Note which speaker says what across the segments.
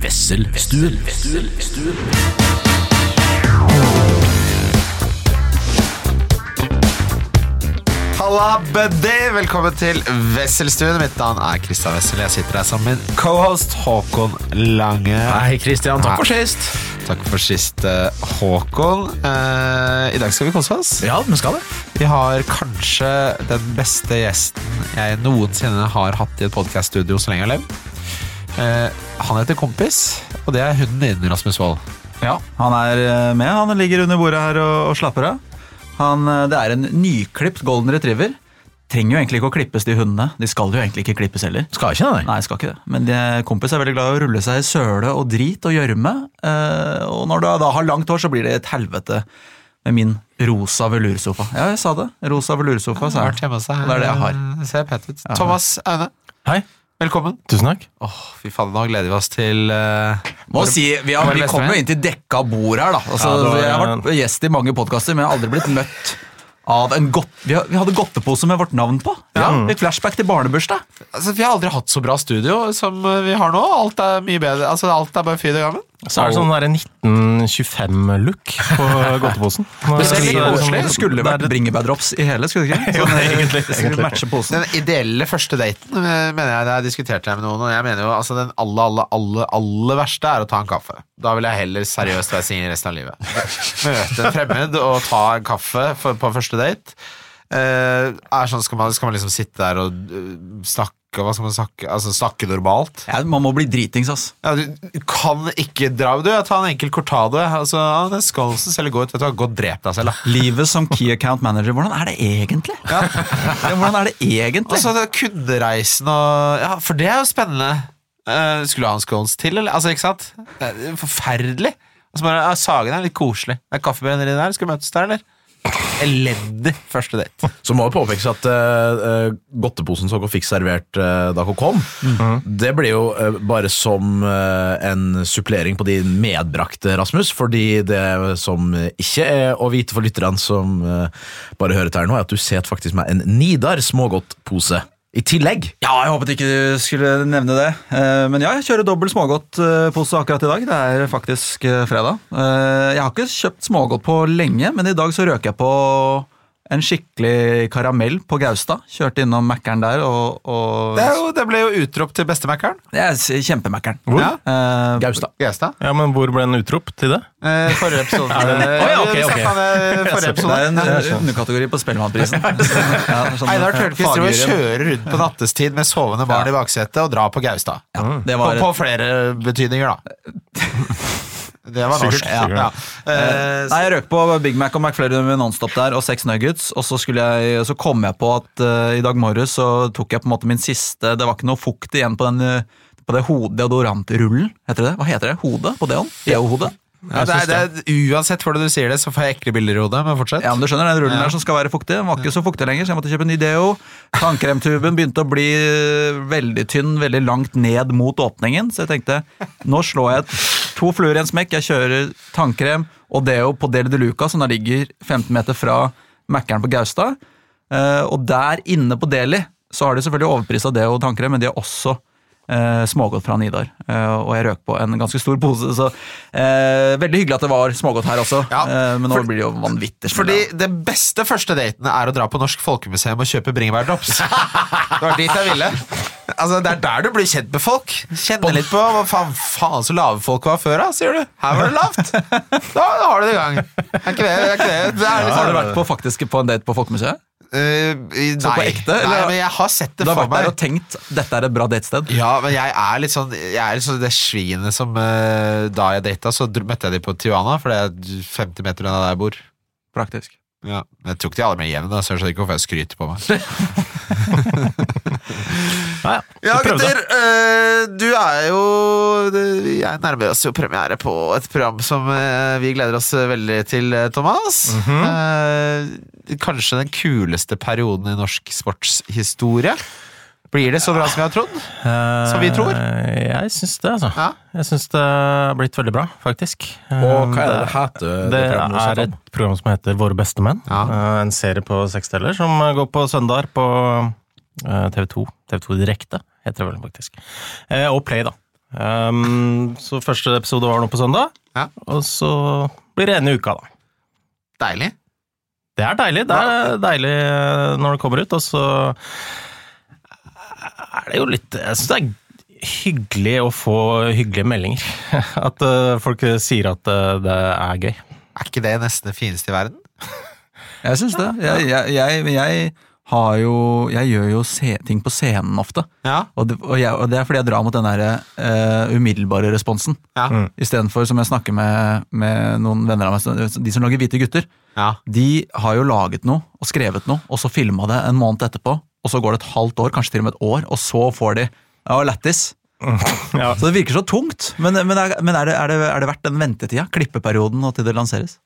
Speaker 1: Wesselstuen.
Speaker 2: Halla, buddy! Velkommen til Wesselstuen. Mitt navn er Kristian Wessel. Jeg sitter her sammen med min cohost Håkon Lange.
Speaker 1: Hei, Kristian. Takk for sist.
Speaker 2: Takk for sist, eh, Håkon. Eh, I dag skal vi kose oss.
Speaker 1: Ja, vi skal det.
Speaker 2: Vi har kanskje den beste gjesten jeg noensinne har hatt i et podcaststudio så lenge jeg har levd. Eh, han heter Kompis, og det er hunden din, Rasmus Wold.
Speaker 3: Ja, han er eh, med. Han ligger under bordet her og, og slapper av. Han, eh, det er en nyklipt golden retriever. Trenger jo egentlig ikke å klippes, de hundene. De skal jo egentlig ikke klippes heller.
Speaker 1: Skal ikke det,
Speaker 3: Nei, skal ikke det. Men de, kompis er veldig glad i å rulle seg i søle og drit og gjørme. Eh, og når du da har langt hår, så blir det et helvete med min rosa velursofa. Ja, jeg sa det. Rosa velursofa, sa
Speaker 2: Vært
Speaker 3: jeg.
Speaker 2: hjemme hos deg.
Speaker 3: Og det er det jeg har.
Speaker 2: Eh, Ser pent ut. Thomas Aune,
Speaker 4: Hei.
Speaker 2: velkommen.
Speaker 4: Tusen takk.
Speaker 2: Åh, fy faen, nå gleder vi oss til eh,
Speaker 3: Må si, vi, har,
Speaker 2: Vår
Speaker 3: vi
Speaker 2: beste
Speaker 3: kommer
Speaker 2: venn.
Speaker 3: jo inn til dekka bord her, da. Altså,
Speaker 4: Ja, det var-
Speaker 3: jeg har vært gjest i mange podkaster, men jeg har aldri blitt møtt av en godt... Vi, har- vi hadde godtepose med vårt navn på. Ja. Et flashback til barnebursdag.
Speaker 2: Altså, Vi har aldri hatt så bra studio som eh, vi har nå. Alt er mye bedre. Altså, alt er bare fryd og gammen.
Speaker 4: Så er det sånn der 1925-look på godteposen.
Speaker 3: Det,
Speaker 2: ser litt
Speaker 4: Så er det sånn-
Speaker 2: koselig.
Speaker 3: skulle vært bringebærdrops i hele, skulle det ikke? Sånn, egentlig. Skulle matche posen.
Speaker 2: Den ideelle første daten eh, mener jeg det er diskutert her med noen, og jeg mener jo altså den aller, aller, aller, aller verste er å ta en kaffe. Da vil jeg heller seriøst være singel resten av livet. Møte en fremmed og ta en kaffe for, på første date. Eh, er sånn, skal, man, skal man liksom sitte der og eh, snakke, hva skal man snakke, altså snakke normalt?
Speaker 3: Ja, man må bli dritings, ass.
Speaker 2: Ja, du du kan ikke dra Du, jeg tar en enkel cortado jeg. altså, ja, Den skålsen ser litt god ut Vet du hva, gå og drep deg selv da
Speaker 3: Livet som key account manager, hvordan er det egentlig? Ja, hvordan er det egentlig?
Speaker 2: Og så Altså, det er kundereisen og, Ja, for det er jo spennende Eh, Skulle du ha en skåls til, eller? Altså, ikke sant? Det er forferdelig Og så bare, ja, sagen er litt koselig Det er kaffebrenneri der, skal vi møtes der, eller? Elendig første date
Speaker 5: Så må det påpekes at eh, eh, godteposen som dere fikk servert eh, da dere kom, det ble jo eh, bare som eh, en supplering på din medbrakte, Rasmus. Fordi det som ikke er å vite for lytterne som eh, bare hører til her nå, er at du set faktisk med en Nidar smågodtpose i tillegg.
Speaker 3: Ja, jeg håpet ikke du skulle nevne det. Eh, Men ja, jeg kjører dobbel smågodtpose akkurat i dag. Det er faktisk eh, fredag. Eh, Jeg har ikke kjøpt smågodt på lenge, men i dag så røk jeg på en skikkelig karamell på Gaustad. Kjørte innom Mækkern der og, og
Speaker 2: Det, er jo, det ble jo utropp til bestemekeren
Speaker 3: Det er kjempemækkern.
Speaker 4: Hvor?
Speaker 2: Ja.
Speaker 3: Eh,
Speaker 5: Gaustad.
Speaker 2: Gjesta
Speaker 4: Ja, men hvor ble den utrop til det?
Speaker 2: eh, Forrige episode
Speaker 4: Er det den? Å, ja, ok,
Speaker 2: Vi
Speaker 4: ok.
Speaker 2: snakket om det i Forrige
Speaker 3: Det er en
Speaker 2: episode
Speaker 3: eh, underkategori på Spellemannprisen. Ja, sånn,
Speaker 2: Einar
Speaker 3: eh,
Speaker 2: Tørnquist tror jeg
Speaker 3: fagjuryen.
Speaker 2: kjører rundt på nattestid med sovende barn i baksetet og drar på Gaustad.
Speaker 3: Det
Speaker 2: På,
Speaker 3: var
Speaker 2: på flere betydninger, da. Det var norsk.
Speaker 4: Sikkert,
Speaker 2: Ja, ja.
Speaker 4: sikkert.
Speaker 2: Eh,
Speaker 3: Nei, Jeg røk på Big Mac og McFlurry med Nonstop der, og seks nuggets. Og så, skulle jeg, så kom jeg på at eh, i dag morges så tok jeg på en måte min siste Det var ikke noe fukt igjen på den eh, på det hode, deodorantrullen. Heter det det? Hva heter det? Hodet? På deon? Deo-hodet?
Speaker 2: ja, det er, det er, uansett hvordan du sier det, så får jeg ekle bilder i hodet, men fortsett.
Speaker 3: Ja, men du skjønner, den rullen der som skal være fuktig, den var ikke så fuktig lenger, så jeg måtte kjøpe en ny deo. Tannkremtuben begynte å bli eh, veldig tynn, veldig langt ned mot åpningen, så jeg tenkte nå slår jeg to fluer i en smekk. Jeg kjører tannkrem og deo på Del de Luca, som da ligger 15 meter fra Mækkern på Gaustad. Eh, og der inne på Deli så har de selvfølgelig overprisa deo og tannkrem, men de har også eh, smågodt fra Nidar. Eh, og jeg røk på en ganske stor pose, så eh, veldig hyggelig at det var smågodt her også.
Speaker 2: Ja,
Speaker 3: eh, men nå
Speaker 2: for-
Speaker 3: blir det jo vanvittig smell,
Speaker 2: Fordi
Speaker 3: da.
Speaker 2: den beste første daten er å dra på Norsk Folkemuseum og kjøpe bringebærdrops. Det var dit jeg ville. Altså, Det er der du blir kjent med folk. Kjenne litt på hva faen, faen så lave folk var før, da, sier du. Her var det lavt. Da har du det i gang. Er ikke det, er ikke det. det er liksom,
Speaker 3: Har du vært på, faktisk, på en date på Folkemuseet?
Speaker 2: Eh, i-
Speaker 3: Så på
Speaker 2: nei.
Speaker 3: ekte,
Speaker 2: nei,
Speaker 3: eller?
Speaker 2: men jeg har sett det
Speaker 3: Du har
Speaker 2: for
Speaker 3: vært der
Speaker 2: meg.
Speaker 3: og tenkt dette er et bra datested?
Speaker 2: Ja, men jeg er litt sånn Jeg er litt sånn det svinet som eh, Da jeg data, så dr- møtte jeg de på Tijuana, for det er 50 meter unna der jeg bor.
Speaker 3: Praktisk.
Speaker 2: Ja. Men jeg tok de alle med hjem, da, så jeg skjønner ikke hvorfor jeg skryter på meg.
Speaker 4: Nei,
Speaker 2: Ja,
Speaker 4: jeg prøvde.
Speaker 2: gutter, eh, du er jo det- Jeg nærmer oss jo premiere på et program som eh, vi gleder oss veldig til, eh, Thomas. Eh, kanskje den kuleste perioden i norsk sportshistorie. Blir det så bra som vi har trodd? Som vi tror.
Speaker 4: Eh, Jeg syns det, altså.
Speaker 2: Ja.
Speaker 4: Jeg syns det har blitt veldig bra, faktisk.
Speaker 5: Og hva er det
Speaker 4: Eh,
Speaker 5: det heter?
Speaker 4: Det
Speaker 5: programmet du har
Speaker 4: er
Speaker 5: satt
Speaker 4: et
Speaker 5: opp?
Speaker 4: program som heter Våre beste menn.
Speaker 2: Ja.
Speaker 4: Eh, En serie på seks deler som eh, går på søndager på eh, TV2. TV2 Direkte, heter det vel faktisk. Eh, Og Play, da. Ehm, så første episode var nå på søndag,
Speaker 2: Ja.
Speaker 4: og så blir det ene uka, da.
Speaker 2: Deilig.
Speaker 4: Det er deilig. Det er deilig eh, når det kommer ut, og så er det jo litt Jeg syns det er hyggelig å få hyggelige meldinger. At eh, folk sier at eh, det er gøy.
Speaker 2: Er ikke det nesten det fineste i verden?
Speaker 3: Jeg syns det. Jeg, jeg, jeg, jeg har jo Jeg gjør jo se, ting på scenen ofte.
Speaker 2: Ja.
Speaker 3: Og det, og, jeg, og det er fordi jeg drar mot den der eh, umiddelbare responsen.
Speaker 2: Ja.
Speaker 3: Istedenfor, som jeg snakker med, med noen venner av meg, de som lager Hvite gutter.
Speaker 2: Ja.
Speaker 3: De har jo laget noe og skrevet noe, og så filma det en måned etterpå. Og så går det et halvt år, kanskje til og med et år, og så får de ja, lættis.
Speaker 4: Ja.
Speaker 3: Så det virker så tungt. Men, men, er, men er, det, er, det, er det verdt den ventetida? Klippeperioden og til det lanseres?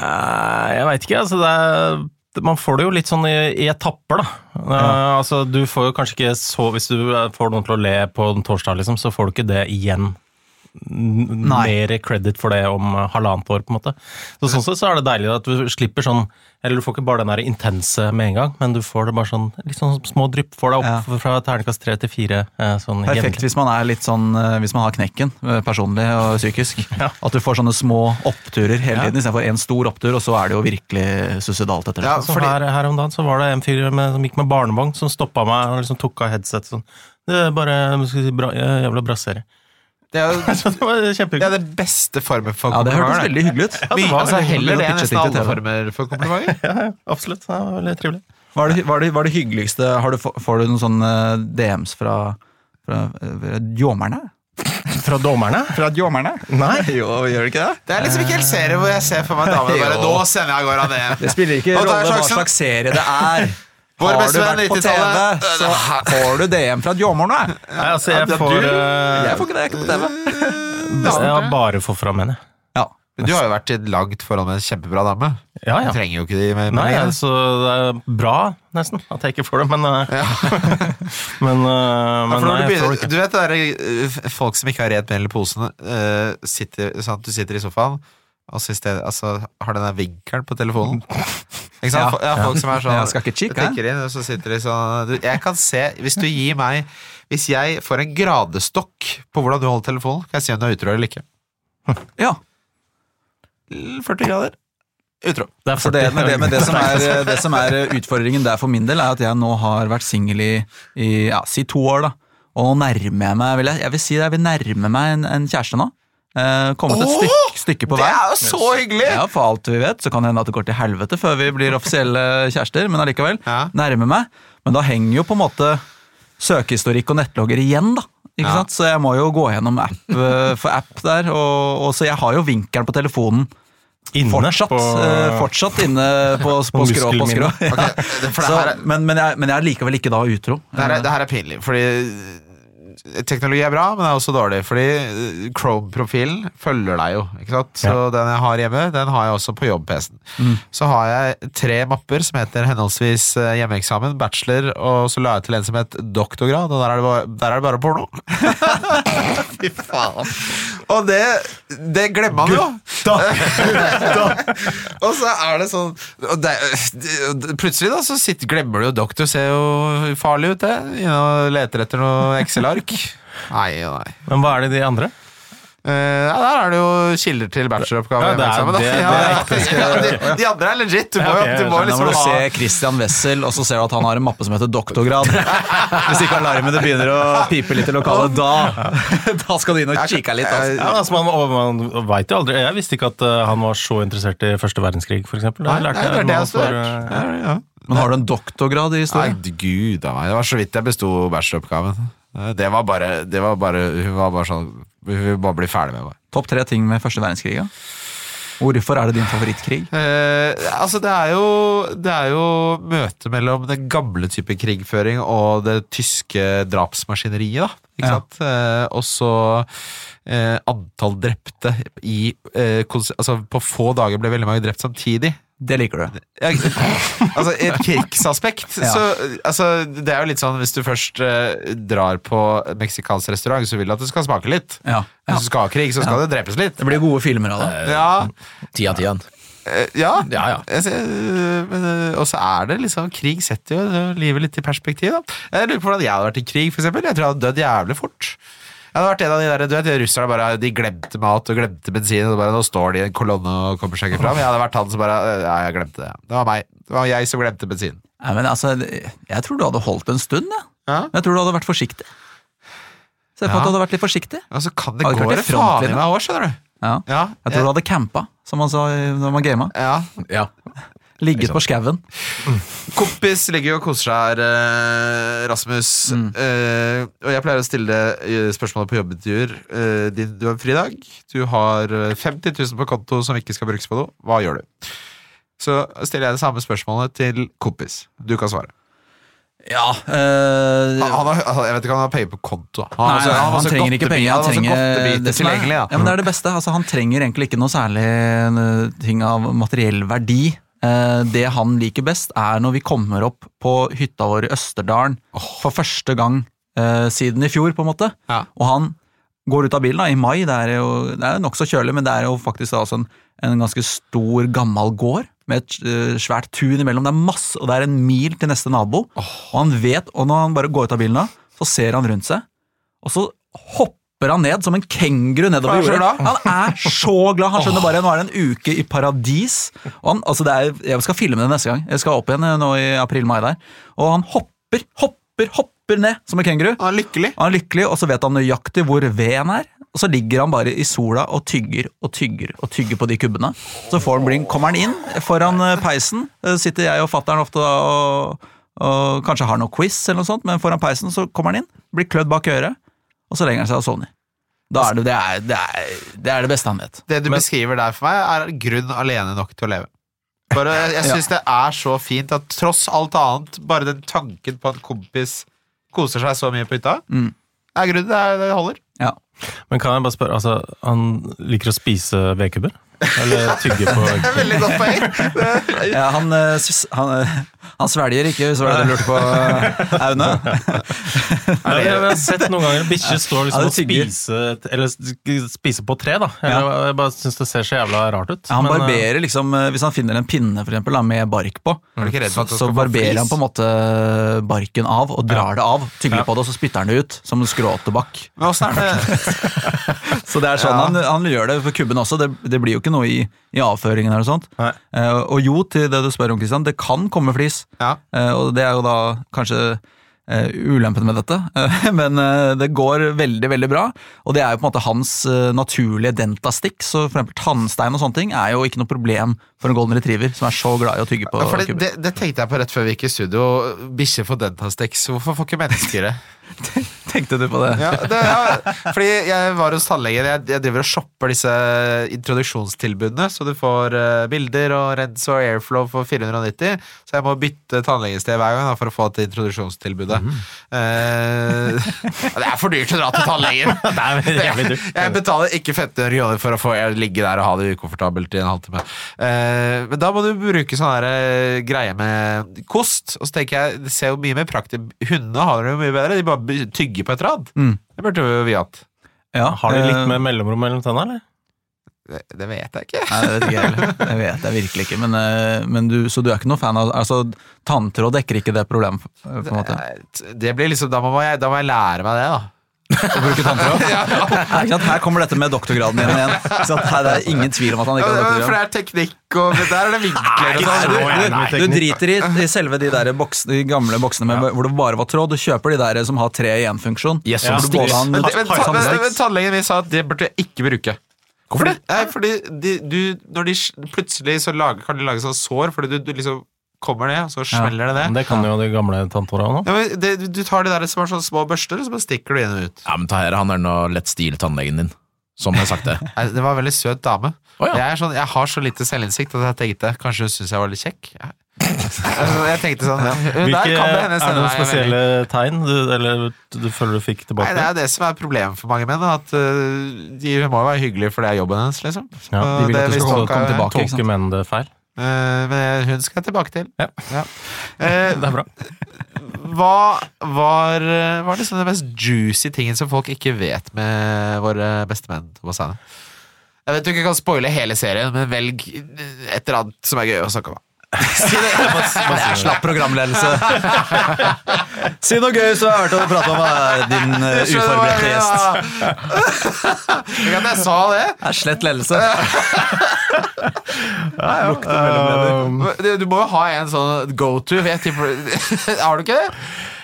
Speaker 4: Eh, Jeg veit ikke, altså det er man får det jo litt sånn i, i etapper, da. Eh, altså, du får jo kanskje ikke så Hvis du eh, får noen til å le på en torsdag, liksom, så får du ikke det igjen. N-
Speaker 3: Nei.
Speaker 4: Mer credit for det om eh, halvannet år, på en måte. Så Sånn sett så er det deilig at du slipper sånn Eller du får ikke bare den der intense med en gang, men du får det bare sånn litt sånn små drypp. Får deg opp fra terningkast tre til fire. eh, Sånn
Speaker 3: Perfekt hvis man er litt sånn, eh, hvis man har knekken, eh, personlig og psykisk. At du får sånne små oppturer hele tiden, istedenfor én stor opptur, og så er det jo virkelig suicidalt etter det.
Speaker 2: Ja,
Speaker 4: Så
Speaker 2: fordi-
Speaker 4: her, her om dagen så var det en fyr med, som gikk med barnevogn, som stoppa meg og liksom tok av headset sånn. Det er bare skal vi si, bra, eh, jævla bra serie.
Speaker 2: Det er jo
Speaker 4: Så det var
Speaker 2: det,
Speaker 4: kjempehyggelig.
Speaker 2: er det beste formen for
Speaker 3: Ja, det
Speaker 2: komplimenter,
Speaker 3: hørtes veldig hyggelig ut.
Speaker 2: Mye- altså, heller det enn nesten
Speaker 3: Pitchet inn til
Speaker 2: alle
Speaker 3: TV.
Speaker 2: former for komplimenter.
Speaker 4: Ja, ja, absolutt. Det var veldig trivelig.
Speaker 3: Hva er det, hva er det, hva er det hyggeligste har du, få- Får du noen sånne DMs fra, fra, eh, fra jåmerne?
Speaker 4: Fra dommerne?
Speaker 3: Fra jåmerne?
Speaker 4: Nei.
Speaker 3: Jo, gjør det ikke det?
Speaker 2: Det er liksom ikke helt serie hvor jeg ser for meg damer bare Nå sender jeg av gårde av det.
Speaker 3: Det spiller ikke
Speaker 2: Og da er
Speaker 3: rolle hva
Speaker 2: sjansen-
Speaker 3: slags serie det er.
Speaker 2: Vår
Speaker 3: Har
Speaker 2: beste
Speaker 3: du
Speaker 2: venn
Speaker 3: vært på TV,
Speaker 2: 90-tallet.
Speaker 3: så får du DM fra jåmerne.
Speaker 4: Nei, altså, jeg
Speaker 2: Ja,
Speaker 4: får
Speaker 2: du-
Speaker 4: eh,
Speaker 3: Jeg får ikke det, jeg er ikke på TV.
Speaker 4: Jeg har bare får fra menn, jeg.
Speaker 3: Ja.
Speaker 2: Du har jo vært i et langt forhold med en kjempebra dame.
Speaker 4: Ja, ja.
Speaker 2: Du trenger jo ikke de med
Speaker 4: Nei, altså, det er bra, nesten, at jeg ikke får det, men eh, Men, eh,
Speaker 2: Ja,
Speaker 4: men
Speaker 2: for når
Speaker 4: nei,
Speaker 2: du,
Speaker 4: jeg
Speaker 2: begynner,
Speaker 4: får det ikke.
Speaker 2: du vet det der, eh, folk som ikke har rent mel i posen eh, sitter, sant? Du sitter i sofaen Og så i stedet, altså, har den der vinkelen på telefonen Ikke sant?
Speaker 3: Ja,
Speaker 2: Fo- ja, folk som er sånn
Speaker 3: Jeg skal ikke kikke,
Speaker 2: klikker inn, og så sitter de sånn du, Jeg kan se, hvis du gir meg Hvis jeg får en gradestokk På hvordan du holder telefonen Kan jeg si om du er utro eller ikke
Speaker 3: ja.
Speaker 2: 40 grader Utro
Speaker 4: Det er
Speaker 3: Så det,
Speaker 4: 40.
Speaker 3: men det, men det, som er, det som er eh, utfordringen der for min del, er at jeg nå har vært singel i, i ja, si to år, da. Og nå nærmer jeg meg vil jeg, jeg vil si det, jeg vil nærme meg en, en kjæreste nå. Eh, kommet et stykke, stykke på
Speaker 2: Det
Speaker 3: vei.
Speaker 2: er jo så hyggelig!
Speaker 3: Ja, For alt vi vet, så kan det hende at det går til helvete før vi blir offisielle kjærester, men allikevel.
Speaker 2: Ja.
Speaker 3: Nærmer meg. Men da henger jo på en måte søkehistorikk og nettlogger igjen, da. Ikke
Speaker 2: Ja.
Speaker 3: sant? Så jeg må jo gå gjennom app eh, for app der, og, og så jeg har jo vinkelen på telefonen.
Speaker 4: Inne
Speaker 3: Fortsatt,
Speaker 4: på-
Speaker 3: eh, fortsatt inne på, på skrå på skrå.
Speaker 4: muskelminnet.
Speaker 3: Ja.
Speaker 2: Ok, det- for det
Speaker 3: Så,
Speaker 2: her er-
Speaker 3: men, men, jeg, men jeg er likevel ikke da utro.
Speaker 2: Det her, er, det her er pinlig, fordi eh, teknologi er bra, men det er også dårlig. Fordi eh, Chrome-profilen følger deg jo. ikke sant? Så den jeg har hjemme, den har jeg også på jobb-PC-en. Så har jeg tre mapper som heter henholdsvis eh, hjemmeeksamen, bachelor, og så la jeg til en som het doktorgrad, og der er det bare, der er det bare porno. Fy faen. Og det, det glemmer man jo. Og så er det sånn og det, det- Plutselig da, så sitter, glemmer du jo doktor, ser jo farlig ut, det. Inne og leter etter noe Excel-ark. Nei, nei.
Speaker 4: Men hva er det de andre?
Speaker 2: Eh, ja, der er det jo kilder til bacheloroppgave.
Speaker 4: Ja, det er-
Speaker 2: hjemmeeksamen, da.
Speaker 4: det- det er
Speaker 2: ja, ja, de, de andre er legit. Du må,
Speaker 4: Ja, ok,
Speaker 2: jo- du må
Speaker 4: jeg
Speaker 3: Da
Speaker 2: liksom
Speaker 3: må du
Speaker 2: ha
Speaker 3: se Christian Wessel, og så ser du at han har en mappe som heter doktorgrad. Hvis ikke alarmene begynner å pipe litt i lokalet, da, da skal du inn og kikke litt. Altså.
Speaker 4: Ja, altså, man man vet jo aldri. Jeg visste ikke at eh, han var så interessert i første verdenskrig, f.eks.
Speaker 2: Nei, nei, det er det jeg har
Speaker 4: eh,
Speaker 2: studert. Ja, ja.
Speaker 3: Men har du en doktorgrad i
Speaker 2: Nei,
Speaker 3: historie?
Speaker 2: gud av meg. Det var så vidt jeg besto bacheloroppgaven. Eh, Det var bare, det var bare Hun var bare sånn Hun ville bare bli ferdig med meg.
Speaker 3: Topp tre ting med første verdenskrig? ja. Hvorfor er det din favorittkrig?
Speaker 2: Eh, altså det er jo Det er jo møtet mellom den gamle type krigføring og det tyske drapsmaskineriet, da. Ikke
Speaker 3: Ja.
Speaker 2: sant? Eh, og så eh, antall drepte i eh, kons Altså på få dager ble veldig mange drept samtidig.
Speaker 3: Det liker du.
Speaker 2: Ja, altså i et krigsaspekt
Speaker 3: Ja.
Speaker 2: så, altså, Det er jo litt sånn hvis du først eh, drar på meksikansk restaurant, så vil du at det skal smake litt.
Speaker 3: Ja. ja.
Speaker 2: Hvis du skal ha krig, så skal det drepes litt.
Speaker 3: Det blir gode filmer av det.
Speaker 2: Ja,
Speaker 5: Ti av ti. igjen.
Speaker 2: Eh, Ja,
Speaker 5: Ja, ja.
Speaker 2: Jeg ser, øh, men, øh, Og så er det liksom Krig setter jo øh, livet litt i perspektiv da. Jeg lurer på hvordan jeg hadde vært i krig for eksempel Jeg tror jeg hadde dødd jævlig fort Jeg hadde vært en av de der, du vet, de russerne bare, de glemte mat og glemte bensin, og bare, nå står de i en kolonne og kommer seg ikke fram. Jeg hadde vært han som bare, eh, ja, jeg glemte det. Det var meg. Det var jeg som glemte bensin.
Speaker 3: Nei, men altså, jeg tror du hadde holdt en stund, jeg.
Speaker 2: Ja.
Speaker 3: Men jeg tror du hadde vært forsiktig. Se for
Speaker 2: Ja.
Speaker 3: at du hadde vært litt forsiktig.
Speaker 2: Og så kan det
Speaker 3: Hadde
Speaker 2: gå
Speaker 3: klart
Speaker 2: det
Speaker 3: det
Speaker 2: faen i
Speaker 3: frontlinja.
Speaker 2: meg også, skjønner du.
Speaker 3: Ja.
Speaker 2: Ja,
Speaker 3: Jeg tror du hadde campa, som man sa i- når man gama.
Speaker 2: ja.
Speaker 5: Ja.
Speaker 3: Ligget på skauen.
Speaker 2: Kompis ligger jo og koser seg her, eh, Rasmus.
Speaker 3: Mm.
Speaker 2: Eh, og jeg pleier å stille eh, spørsmålet på jobbintervjuer. Eh, din, du har fri dag. Du har eh, 50 000 på konto som ikke skal brukes på noe. Hva gjør du? Så stiller jeg det samme spørsmålet til kompis. Du kan svare.
Speaker 3: Ja,
Speaker 2: Han, han har, han- jeg vet ikke om han har penger på konto. Han,
Speaker 3: Nei,
Speaker 2: altså,
Speaker 3: han,
Speaker 2: har så
Speaker 3: trenger ikke
Speaker 2: godtebit-
Speaker 3: penger.
Speaker 2: han har
Speaker 3: Han
Speaker 2: så godtebiter
Speaker 3: trenger det som er,
Speaker 2: tilgjengelig, da.
Speaker 3: ja, men det er det beste. Altså, han trenger egentlig ikke noe særlig eh, ting av materiell verdi. Eh, Det han liker best, er når vi kommer opp på hytta vår i Østerdalen for første gang eh, siden i fjor, på en måte.
Speaker 2: Ja.
Speaker 3: Og han går ut av bilen da, i mai. Det er jo det er nokså kjølig, men det er jo faktisk da altså en, en ganske stor, gammel gård. Med et eh, svært tun imellom. Det er masse, og det er en mil til neste nabo. Og han vet, og når han bare går ut av bilen da, så ser han rundt seg, og så hopper han ned som en kenguru nedover
Speaker 2: Han er så
Speaker 3: jordet. Han er så glad! Han skjønner bare nå er det en uke i paradis. Og han, altså det er, jeg skal filme det neste gang. Jeg skal opp igjen eh, nå i april-mai der. Og han hopper, hopper, hopper ned som en kenguru.
Speaker 2: Han er lykkelig.
Speaker 3: Han er lykkelig, og så vet han nøyaktig hvor veden er. Og så ligger han bare i sola og tygger og tygger og tygger på de kubbene. Så får han bli, kommer han inn foran eh, peisen. eh, Sitter jeg og fatter'n ofte da og, og kanskje har noe quiz, eller noe sånt, men foran peisen så kommer han inn, blir klødd bak øret, og så legger han seg og sovner. Da er det, det, er, det, er, det er det beste han vet.
Speaker 2: Det du beskriver der for meg, er grunn alene nok til å leve. Bare, jeg jeg syns det er så fint at tross alt annet, bare den tanken på at en kompis koser seg så mye på hytta,
Speaker 3: Mm.
Speaker 2: er grunnen det, er, det holder.
Speaker 3: Ja.
Speaker 4: Men kan jeg bare spørre, altså, han liker å spise vedkubber? Eller tygge på
Speaker 2: Det er veldig godt poeng.
Speaker 3: Ja, han, eh, sys- han, eh, han svelger ikke, hvis det var det du lurte på, eh, Aune.
Speaker 4: Nei, Jeg har sett noen ganger bikkjer står
Speaker 3: Ja,
Speaker 4: liksom
Speaker 3: det
Speaker 4: og
Speaker 3: tygger.
Speaker 4: spiser Eller sk- spiser på tre, da. Eller, Jeg bare syns det ser så jævla rart ut.
Speaker 3: Ja, han
Speaker 4: Men, eh,
Speaker 3: barberer liksom, eh, Hvis han finner en pinne for eksempel, da, med bark på,
Speaker 2: Er du ikke redd for
Speaker 3: så,
Speaker 2: at det
Speaker 3: så
Speaker 2: skal få
Speaker 3: barberer
Speaker 2: flis?
Speaker 3: han på en måte barken av og drar det av. Tygler på det, og så spytter han det ut som en skråtobakk.
Speaker 2: Men åssen er det
Speaker 3: Så det er sånn han, han gjør det for kubben også. Det, det blir jo ikke noe i, i avføringen. eller sånt.
Speaker 4: Nei.
Speaker 3: Eh, og jo, til det du spør om, Christian, det kan komme flis.
Speaker 2: Ja.
Speaker 3: Eh, og det er jo da kanskje eh, ulempen med dette. Eh, Men eh, det går veldig, veldig bra. Og det er jo på en måte hans eh, naturlige dentastikk. Så for eksempel tannstein og sånne ting er jo ikke noe problem for en golden retriever som er så glad i å tygge på
Speaker 2: for det,
Speaker 3: kubber.
Speaker 2: det, det tenkte jeg på rett før vi gikk i studio. Bikkje for dentastex. Hvorfor får ikke mennesker det?
Speaker 3: Tenkte du på det?
Speaker 2: Ja, det ja, fordi jeg var hos tannlegen. Jeg, jeg driver og shopper disse introduksjonstilbudene, så du får eh, bilder og rens og airflow for 490. Så jeg må bytte tannlegested hver gang da, for å få til introduksjonstilbudet. Eh, det er for dyrt å dra til tannlegen!
Speaker 4: Det er veldig jævlig
Speaker 2: Jeg,
Speaker 4: dyrt.
Speaker 2: betaler ikke 1500 kroner for å få jeg ligge der og ha det ukomfortabelt i en halvtime. Eh, men da må du bruke sånn her, eh, greie med kost. Og så tenker jeg, det ser jo mye mer praktisk Hundene har det jo mye bedre. De bare by- tygger på et rad.
Speaker 3: Mm.
Speaker 2: Det burde jo vi hatt.
Speaker 3: Ja,
Speaker 4: Har de litt
Speaker 3: eh,
Speaker 4: mer mellomrom mellom tenna, eller?
Speaker 2: Det, det vet jeg ikke.
Speaker 3: Nei, det vet ikke jeg heller. Det vet jeg virkelig ikke. Men, eh, men du, så du er ikke noe fan av altså, Tanntråd dekker ikke det problemet, eh, på en måte.
Speaker 2: Det, blir liksom, da, må jeg, da må jeg lære meg det, da.
Speaker 3: Å bruke tanntråd? Nei, ikke sant? Her kommer dette med doktorgraden igjen. igjen. Ikke sant? her, det er ingen tvil om at han
Speaker 2: Ja,
Speaker 3: ikke
Speaker 2: men-
Speaker 3: har
Speaker 2: For det
Speaker 3: doktorgrad.
Speaker 2: er teknikk, og det der er det vinkler og
Speaker 3: Du,
Speaker 2: sånn.
Speaker 3: du, du driter i, i selve de, der boks, de gamle boksene med, hvor det bare var tråd. Du kjøper de der som har tre i én-funksjon.
Speaker 5: Yes,
Speaker 3: Så
Speaker 5: som
Speaker 3: hvor du både
Speaker 5: sticks.
Speaker 3: har en-
Speaker 2: Men, men,
Speaker 3: har
Speaker 2: ta- men,
Speaker 3: sammenstrekk.
Speaker 2: men tannlegen min sa at det burde jeg ikke bruke. Hvorfor det? Nei, fordi de, du, når de s- plutselig så lager, kan de lage sånn sår, fordi du, du liksom kommer ned, og så smeller det ned.
Speaker 4: Det kan jo de gamle tantora nå.
Speaker 2: Ja, men det, du- du tar de der som er sånne små børster, og så bare stikker du inn og ut.
Speaker 5: Ja, men Taher, han er nå lett stil tannlegen din. Som jeg har sagt det.
Speaker 2: Nei, det var en veldig søt dame.
Speaker 5: Å, ja.
Speaker 2: jeg, er sånn, jeg har så lite selvinnsikt at jeg tenkte kanskje hun syns jeg var litt kjekk. Jeg, jeg tenkte sånn Hun der
Speaker 4: Hvilke,
Speaker 2: kan det
Speaker 4: er
Speaker 2: hende
Speaker 4: det
Speaker 2: sende meg en
Speaker 4: noen
Speaker 2: melding.
Speaker 4: spesielle tegn du, eller, du føler du fikk
Speaker 2: Nei,
Speaker 4: tilbake?
Speaker 2: det er jo det som er problemet for mange menn. da, At øh, de hun må jo være hyggelige, for det er jobben hennes, liksom.
Speaker 4: Ja,
Speaker 2: Og
Speaker 3: de vil at du
Speaker 2: det
Speaker 3: skal
Speaker 2: mistolka
Speaker 3: komme
Speaker 2: jeg.
Speaker 3: tilbake. ikke sant?
Speaker 4: Tolker menn det feil?
Speaker 2: Eh, men hun skal jeg tilbake til.
Speaker 4: Ja.
Speaker 2: Eh,
Speaker 4: Det er bra.
Speaker 2: hva var, eh, var liksom den mest juicy tingen som folk ikke vet med våre bestemenn? Thomas Heine? Jeg vet du ikke kan spoile hele serien, men velg et eller annet som er gøy å snakke om.
Speaker 3: Jeg slapp programledelse. Si noe gøy som har vært å prate om, eh, din eh, uforberedte gjest.
Speaker 2: Ikke at jeg sa det.
Speaker 3: Det er slett ledelse.
Speaker 2: Du, du må jo ha en sånn go-to. vet jeg, for- Har du ikke det?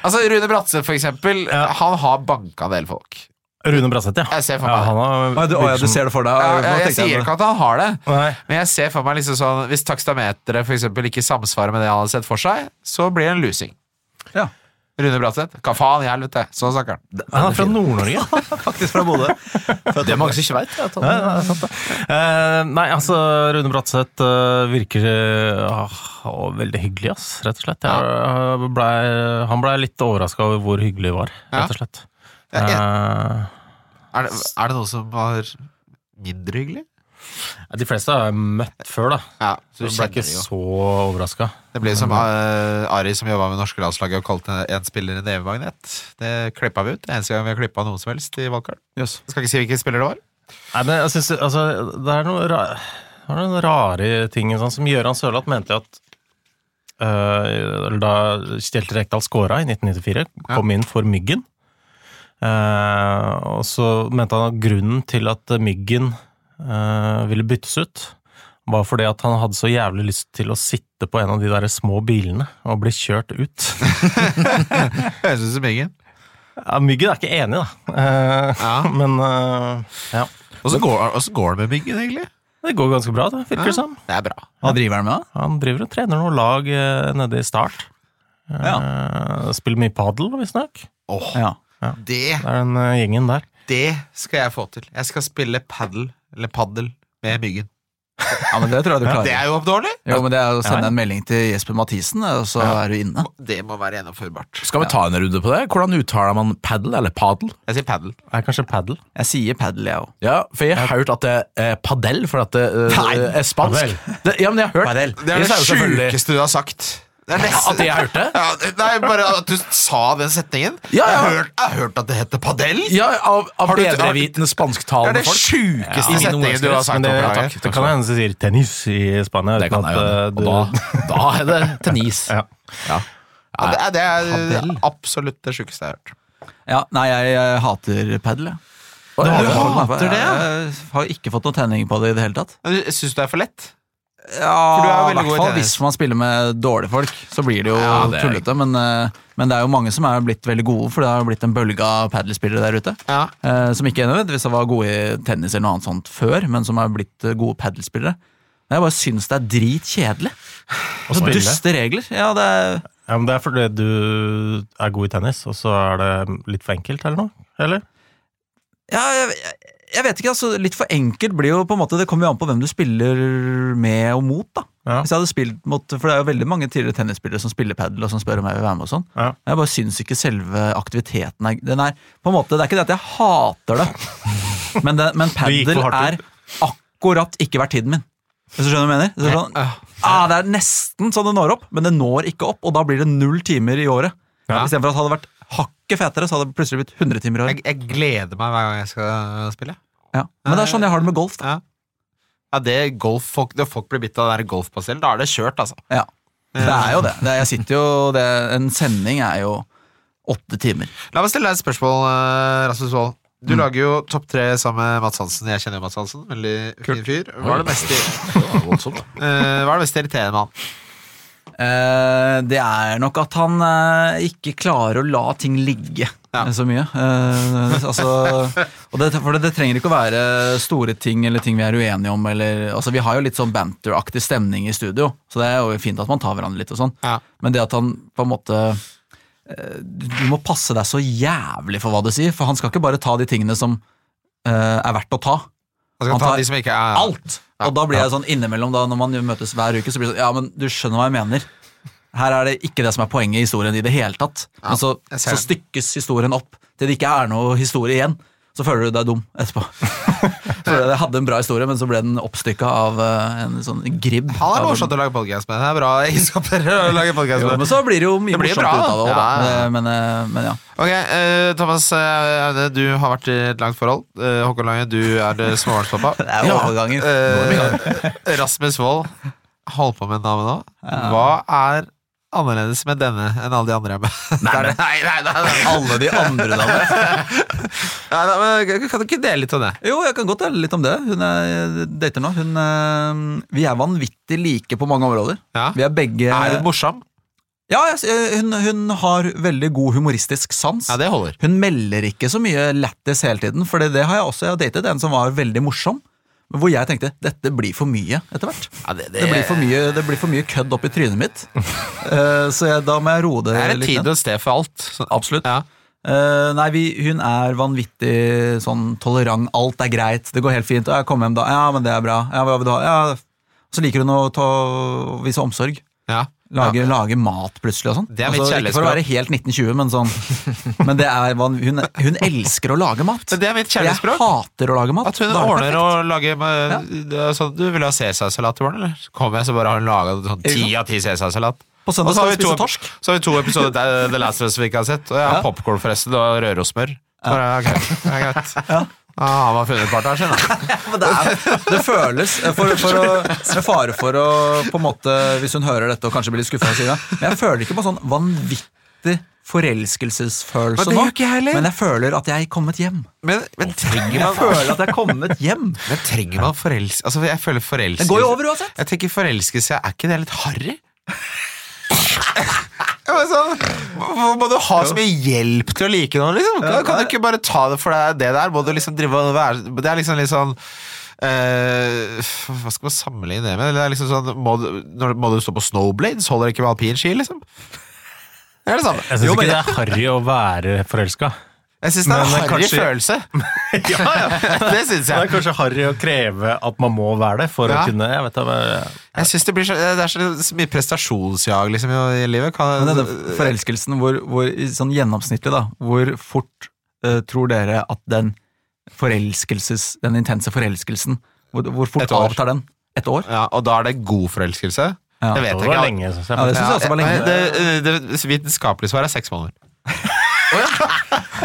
Speaker 2: Altså, Rune Bratse, for eksempel. Han har banka en del folk.
Speaker 4: Rune Braseth, ja.
Speaker 2: Jeg ser for meg
Speaker 4: ja han har,
Speaker 3: Å, du, å, ja, du ser det for deg.
Speaker 2: Ja,
Speaker 3: Nå
Speaker 2: ja, jeg
Speaker 3: tenkte
Speaker 2: sier
Speaker 3: jeg-
Speaker 2: ikke at han har det,
Speaker 4: Nei.
Speaker 2: men jeg ser for meg liksom sånn hvis takstameteret for eksempel ikke samsvarer med det han har sett for seg, så blir det en lusing.
Speaker 3: Ja.
Speaker 2: Rune Bratseth. Hva faen i helvete? Sånn snakker han.
Speaker 4: han er fra Nord-Norge.
Speaker 3: Faktisk fra Bodø.
Speaker 5: Det er mange som ikke veit. at han-
Speaker 4: Ja, det er sant, det. Eh, nei, altså, Rune Bratseth eh, virker eh, ah, veldig hyggelig, ass, rett og slett. Jeg, eh, blei- han blei litt overraska over hvor hyggelig det var,
Speaker 2: Ja.
Speaker 4: rett og slett.
Speaker 2: Ja,
Speaker 4: Eh,
Speaker 2: Er det, er det noen som var mindre hyggelig?
Speaker 4: de fleste har jeg møtt før, da.
Speaker 2: Ja, så du
Speaker 4: Så jeg ble
Speaker 2: kjenner
Speaker 4: ikke
Speaker 2: det jo.
Speaker 4: så overraska.
Speaker 2: Det blir som eh, Ari som jobba med norske landslaget og kalte en spiller en EU-magnet. Det klippa vi ut. Det er eneste gang vi har klippa noen som helst i valgkart.
Speaker 3: Jøss.
Speaker 2: Jeg skal ikke si hvilken spiller det var.
Speaker 4: Nei, men jeg synes, altså, det er noen rare, det er noen rare ting sånn, som Gøran Sørlath mente jo at eh, eller da Kjetil Rekdal skåra i 1994, kom inn for Myggen. Eh, og så mente han at grunnen til at Myggen eh, ville byttes ut, var fordi at han hadde så jævlig lyst til å sitte på en av de der små bilene og bli kjørt ut.
Speaker 2: Høres ut som ingen.
Speaker 4: Ja, myggen er ikke enig, da. Eh,
Speaker 2: Ja.
Speaker 4: Men eh, ja.
Speaker 2: Åssen går, hvordan går det med Myggen, egentlig?
Speaker 4: Det går ganske bra, det, virker det som.
Speaker 2: Det er bra.
Speaker 3: Hva driver han med, da?
Speaker 4: Han driver og trener noen lag eh, nede i Start. Eh, spiller mye padel, visstnok.
Speaker 2: Åh,
Speaker 3: Ja.
Speaker 2: det,
Speaker 4: Det er den eh, gjengen der.
Speaker 2: det skal jeg få til. Jeg skal spille padel, eller paddel, med Myggen.
Speaker 3: ja, men det tror jeg du
Speaker 2: Det
Speaker 3: klarer.
Speaker 2: er jo oppdårlig.
Speaker 3: Jo, men det er å sende en melding til Jesper Mathisen, eh, og så er du inne.
Speaker 2: Det må være gjennomførbart.
Speaker 5: Skal vi ta en runde på det? Hvordan uttaler man paddle eller padel?
Speaker 2: Jeg sier padel.
Speaker 4: Det er kanskje padel.
Speaker 3: Jeg sier padel, jeg òg.
Speaker 5: Ja, for jeg har hørt at det er padel, for at det eh,
Speaker 3: Nei,
Speaker 5: er spansk. Det, ja, men jeg har hørt
Speaker 3: Padel.
Speaker 2: Det er
Speaker 5: Jeg
Speaker 2: det
Speaker 5: sa jo selvfølgelig-
Speaker 2: sjukeste du har sagt. Det er nesten-
Speaker 5: At jeg har hørt det?
Speaker 2: Ja, det- nei, bare at du sa den setningen.
Speaker 5: Ja,
Speaker 2: Jeg,
Speaker 5: ja.
Speaker 2: har hørt, jeg har hørt at det heter padel.
Speaker 5: Ja, av, av
Speaker 2: Har du-
Speaker 5: bedrevitende
Speaker 2: Det er
Speaker 5: spansktalende
Speaker 2: det
Speaker 5: folk.
Speaker 2: sjukeste
Speaker 5: Ja, i min
Speaker 2: setningen du har sagt.
Speaker 4: Men det,
Speaker 2: om
Speaker 4: ja,
Speaker 2: Braga.
Speaker 4: takk, det kan hende de sier tennis i Spania.
Speaker 5: Det kan
Speaker 4: uten
Speaker 5: jeg jo.
Speaker 4: at, eh,
Speaker 5: Og da, da er det tennis.
Speaker 4: Ja.
Speaker 2: Ja, det er, det er
Speaker 3: Padel.
Speaker 2: absolutt det sjukeste jeg har hørt.
Speaker 3: Ja, nei, jeg, jeg hater padel, jeg.
Speaker 5: Oi,
Speaker 3: Det har jeg
Speaker 5: ja.
Speaker 3: fått meg på.
Speaker 2: hater det, ja?
Speaker 3: Jeg har ikke fått noen tenning på det i det hele tatt.
Speaker 2: Men du- Syns du det er for lett? For du er
Speaker 3: Ja,
Speaker 2: jo
Speaker 3: i
Speaker 2: veldig
Speaker 3: hvert
Speaker 2: god i
Speaker 3: fall
Speaker 2: tennis.
Speaker 3: hvis man spiller med dårlige folk, så blir det jo
Speaker 5: Ja, det er-
Speaker 3: tullete. Men, eh, men det er jo mange som er blitt veldig gode, for det har jo blitt en bølge av padelspillere der ute.
Speaker 2: Ja.
Speaker 3: Eh, som ikke nødvendigvis var gode i tennis eller noe annet sånt før, men som er blitt eh, gode padelspillere. Men Jeg bare syns det er dritkjedelig.
Speaker 4: Og
Speaker 3: Så
Speaker 4: spille.
Speaker 3: duste regler. Ja, det er
Speaker 4: Ja, men det er fordi du er god i tennis, og så er det litt for enkelt, eller noe? Eller?
Speaker 3: Ja, jeg, jeg, jeg vet ikke, altså litt for enkelt blir jo på en måte Det kommer jo an på hvem du spiller med og mot, da.
Speaker 4: Ja.
Speaker 3: Hvis jeg hadde spilt mot, For det er jo veldig mange tidligere tennisspillere som spiller padel og som spør om jeg vil være med og sånn.
Speaker 4: Ja.
Speaker 3: Jeg bare syns ikke selve aktiviteten er Den er på en måte, Det er ikke det at jeg hater det, men, det, men
Speaker 4: gikk
Speaker 3: padel
Speaker 4: for hardt
Speaker 3: er akkurat ikke vært tiden min. Hvis du skjønner hva jeg mener? Så det er sånn, ah, det er nesten så det når opp, men det når ikke opp, og da blir det null timer i året.
Speaker 4: Ja.
Speaker 3: Istedenfor at det hadde vært hakket fetere, så hadde det plutselig blitt 100 timer i året.
Speaker 2: Jeg, jeg gleder meg hver gang jeg skal spille.
Speaker 3: Ja. Men det er sånn jeg har det med golf. da.
Speaker 2: Ja, ja det golf, folk, Når folk blir bitt av det der golfpasillen, da er det kjørt, altså.
Speaker 3: Ja. Det er jo det. det er- jeg sitter jo det, En sending er jo åtte timer.
Speaker 2: La meg stille deg et spørsmål, eh, Rasmus Wold. Du lager jo Topp tre sammen med Mats Hansen. Jeg kjenner jo Mats Hansen. Veldig fin fyr. Hva er det mest, i-
Speaker 5: Det var voldsomt, da.
Speaker 2: eh, hva er det mest irriterende med han?
Speaker 3: Eh, det er nok at han eh, ikke klarer å la ting ligge
Speaker 2: Ja.
Speaker 3: eh, så mye. Eh, altså, og det, for det, det trenger ikke å være store ting eller ting vi er uenige om. Eller, altså, vi har jo litt sånn banteraktig stemning i studio, så det er jo fint at man tar hverandre litt og sånn.
Speaker 2: Ja.
Speaker 3: Men det at han på en måte eh, Du du må passe deg så jævlig for hva du sier, for han skal ikke bare ta de tingene som eh, er verdt å ta.
Speaker 2: Han skal
Speaker 3: Han
Speaker 2: Altså, ta
Speaker 3: tar
Speaker 2: de som ikke er
Speaker 3: alt. Og da blir jeg sånn innimellom, da, når man møtes hver uke, så blir det sånn Ja, men du skjønner hva jeg mener. Her er det ikke det som er poenget i historien i det hele tatt. men så,
Speaker 2: jeg ser
Speaker 3: så
Speaker 2: den.
Speaker 3: stykkes historien opp til det ikke er noe historie igjen. Så føler du deg dum etterpå. så jeg hadde en bra historie, men så ble den oppstykka av eh, en sånn gribb.
Speaker 2: Han er
Speaker 3: av en-
Speaker 2: morsomt å lage podkast med. Det er bra egenskaper å lage podcast
Speaker 3: Jo,
Speaker 2: med.
Speaker 3: men så blir det jo mye
Speaker 2: Det blir
Speaker 3: morsomt
Speaker 2: bra,
Speaker 3: ut av det òg,
Speaker 2: da. Ja, ja,
Speaker 3: da.
Speaker 2: ja.
Speaker 3: Men, eh, men ja.
Speaker 2: Ok, eh, Thomas eh, Aune, du har vært i et langt forhold. Eh, Håkon Lange, du er eh, småbarnspappa.
Speaker 3: Det er jo overganger.
Speaker 2: Eh, Rasmus Wold, holder på med en dame nå. Hva er annerledes med denne enn alle de andre jeg har med? Nei, nei, nei, nei, nei,
Speaker 3: Alle de andre damene.
Speaker 2: nei, nei men Eh, Kan du ikke dele litt av det?
Speaker 3: Jo, jeg kan godt dele litt om det. Hun er dater nå. Hun, eh, vi er vanvittig like på mange områder.
Speaker 2: Ja.
Speaker 3: Vi er begge
Speaker 2: Er hun morsom?
Speaker 3: Ja, jeg, s- eh, hun, hun har veldig god humoristisk sans.
Speaker 2: Ja, det holder.
Speaker 3: Hun melder ikke så mye lættis hele tiden, for det, det har jeg også. Jeg har datet en som var veldig morsom, men hvor jeg tenkte dette blir for mye etter hvert.
Speaker 2: Ja, det,
Speaker 3: Det blir for mye, det blir for mye kødd oppi trynet mitt, Eh, så jeg, da må jeg roe det
Speaker 2: det er en
Speaker 3: litt.
Speaker 2: tid
Speaker 3: ned.
Speaker 2: og et sted for alt. Så-
Speaker 3: Absolutt.
Speaker 2: Ja.
Speaker 3: Eh, nei, vi, hun er vanvittig sånn tolerant. Alt er greit, det går helt fint. Og jeg kommer hjem da, ja, men det er bra. Ja, hva vil du ha? Ja. Så liker hun å ta, vise omsorg.
Speaker 2: Ja.
Speaker 3: Lage, lage mat plutselig og sånn.
Speaker 2: Det er mitt
Speaker 3: ikke for å
Speaker 2: kjærlighetsspråk.
Speaker 3: være helt 1920, men sånn. Men det er, van- hun, hun elsker å lage mat.
Speaker 2: Men det er mitt
Speaker 3: Jeg
Speaker 2: kjærlighetsspråk.
Speaker 3: hater å lage mat.
Speaker 2: At hun
Speaker 3: Da er det
Speaker 2: ordner
Speaker 3: perfekt.
Speaker 2: og lager med, det er sånn, Du vil ha cæsarsalat i morgen, eller? Så kommer jeg, så bare har hun laga sånn ti av ti cæsarsalat.
Speaker 3: På
Speaker 2: Og
Speaker 3: søndag
Speaker 2: så
Speaker 3: skal
Speaker 2: har
Speaker 3: vi
Speaker 2: vi to,
Speaker 3: spise torsk.
Speaker 2: så har vi to episoder der The Last of Us vi ikke har sett. Og jeg har
Speaker 3: Ja.
Speaker 2: popcorn forresten, og rørosmør. Så bare, ok, det er greit. Ah, han har funnet partneren sin, da.
Speaker 3: Men det, er, det føles eh, for, for å, Med fare for å på en måte Hvis hun hører dette og kanskje blir litt skuffa, men jeg føler ikke på sånn vanvittig
Speaker 2: Men
Speaker 3: forelskelsesfølelse
Speaker 2: det
Speaker 3: nå.
Speaker 2: gjør ikke jeg heller.
Speaker 3: Men jeg føler at jeg er kommet hjem.
Speaker 2: Men, men trenger
Speaker 3: Jeg
Speaker 2: man,
Speaker 3: føler at jeg er kommet hjem.
Speaker 2: men trenger man forelskelse Altså, jeg føler forelskelse
Speaker 3: Det går jo over uansett.
Speaker 2: Jeg tenker forelskelse, er ikke det litt harry? Ja, men sånn, Hvorfor må du ha så mye hjelp til å like noen, liksom? Kan, kan du ikke bare ta det for deg, det der? Må du liksom drive og være Det er liksom litt sånn eh, hva skal man sammenligne det med? Det er liksom sånn, må, du, når, må du stå på snowblades? Holder det ikke med alpinski, liksom? Det er det samme.
Speaker 4: Jeg syns ikke det er harry å være forelska.
Speaker 2: Jeg syns det er en
Speaker 4: Men eh,
Speaker 2: harry
Speaker 4: kanskje-
Speaker 2: følelse.
Speaker 4: ja, ja.
Speaker 2: Det syns
Speaker 4: Det er
Speaker 2: jeg.
Speaker 4: kanskje harry å kreve at man må være det for
Speaker 2: Ja.
Speaker 4: å kunne jeg vet da, hva-
Speaker 2: Jeg synes det, blir så, det er så, så mye prestasjonsjag liksom, i, i livet. Kan,
Speaker 3: Men denne forelskelsen, hvor, hvor, i sånn gjennomsnittlig, da, hvor fort eh, tror dere at den forelskelses, den intense forelskelsen, hvor, hvor
Speaker 2: Et
Speaker 3: fort
Speaker 2: år.
Speaker 3: avtar den? Et år?
Speaker 2: Ja, og da er det god forelskelse?
Speaker 3: Ja.
Speaker 2: Det vet
Speaker 4: Det
Speaker 2: jeg
Speaker 4: var
Speaker 2: ikke.
Speaker 4: lenge, synes
Speaker 3: Ja,
Speaker 4: jeg.
Speaker 3: det synes jeg også var lenge.
Speaker 2: Ja, det, det, det vitenskapelige svaret er seks måneder.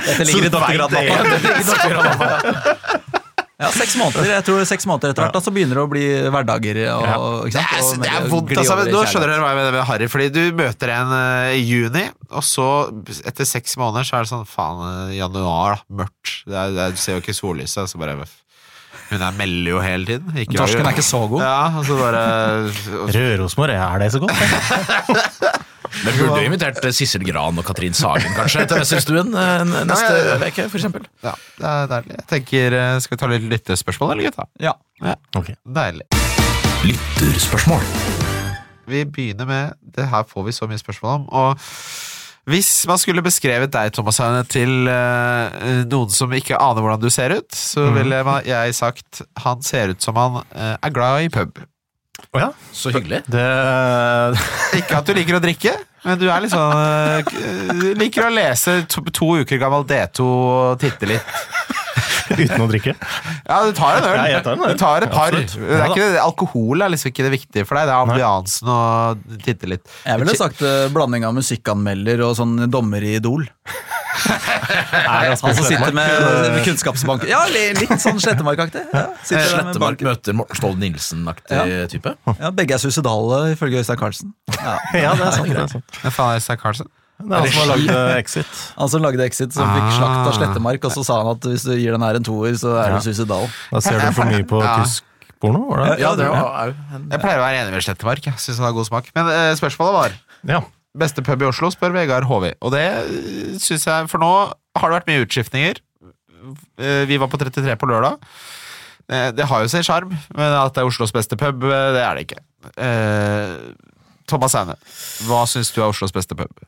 Speaker 3: Dette ligger i doktorgradmappa. Dette ligger i doktorgradmappa. Ja, seks måneder. Jeg tror seks måneder etter hvert, da så begynner det å bli hverdager. Og,
Speaker 2: Det
Speaker 3: ikke
Speaker 2: er,
Speaker 3: sant? Og
Speaker 2: det er
Speaker 3: mer
Speaker 2: vondt,
Speaker 3: gli
Speaker 2: altså.
Speaker 3: over i
Speaker 2: Nå skjønner
Speaker 3: kjærlighet.
Speaker 2: dere hva jeg mener med harry. Fordi du møter en eh, i juni, og så, etter seks måneder, så er det sånn faen, eh, januar, da. Mørkt. Det er, det er, du ser jo ikke sollyset. Så bare Hun der melder jo hele tiden. Ikke-
Speaker 3: Torsken er ikke så god.
Speaker 2: Ja, og så bare
Speaker 4: Rørosmor, er det så godt?
Speaker 5: Men burde jo invitert eh, Sissel Gran og Katrin Sagen kanskje til Wesselstuen eh, n- neste uke, for eksempel.
Speaker 2: Ja, det er deilig. Jeg tenker, eh, Skal vi ta litt lyttespørsmål, eller, gutta?
Speaker 3: Ja.
Speaker 2: Deilig.
Speaker 5: Lytterspørsmål.
Speaker 2: Vi begynner med Det her får vi så mye spørsmål om. Og hvis man skulle beskrevet deg, Thomas Haune, til eh, noen som ikke aner hvordan du ser ut, så ville man- jeg sagt han ser ut som han eh, er glad i pub.
Speaker 4: Å ja.
Speaker 5: Så hyggelig.
Speaker 4: Det
Speaker 2: Ikke at du liker å drikke, men du er litt sånn eh, k- Liker å lese to, to uker gammel D2 og titte litt.
Speaker 4: Uten å drikke.
Speaker 2: Ja, du tar en øl.
Speaker 4: Ja, jeg tar en øl.
Speaker 2: Du tar et par.
Speaker 4: Absolutt.
Speaker 2: Det er ikke, alkohol er liksom ikke det viktige for deg, det er ambiansen og titte litt.
Speaker 3: Jeg ville sagt eh, blanding av musikkanmelder og sånn dommer i Idol. Han som sitter med kunnskapsbank Ja, li- litt sånn Slettemark-aktig. Ja, sitter der med
Speaker 5: Slettemark
Speaker 3: banken.
Speaker 5: møter Morten Ståle Nilsen-aktig
Speaker 3: Ja.
Speaker 5: type.
Speaker 3: ja, Begge er suicidale, ifølge Øystein Carlsen. Ja.
Speaker 4: Ja, det er sant. Det er, sant.
Speaker 2: Hva faen er Øystein Carlsen?
Speaker 4: Det er han som har lagd eh, Exit.
Speaker 3: Han som lagde Exit, som fikk slakt av Slettemark, og så sa han at hvis du gir den her en toer, så er du suicidal.
Speaker 4: Da ser du for mye på
Speaker 2: Ja.
Speaker 4: tysk porno? var det?
Speaker 5: Ja, det var jo en
Speaker 2: Jeg pleier å være enig med Slettemark. Jeg synes han har god smak. Men eh, spørsmålet var
Speaker 4: Ja.
Speaker 2: Beste pub i Oslo, spør Vegard Håvi. Og det syns jeg For nå har det vært mye utskiftninger. Eh, Vi var på 33 på lørdag. Eh, Det har jo sin sjarm, men at det er Oslos beste pub, eh, det er det ikke. Eh, Thomas Aune, hva syns du er Oslos beste pub?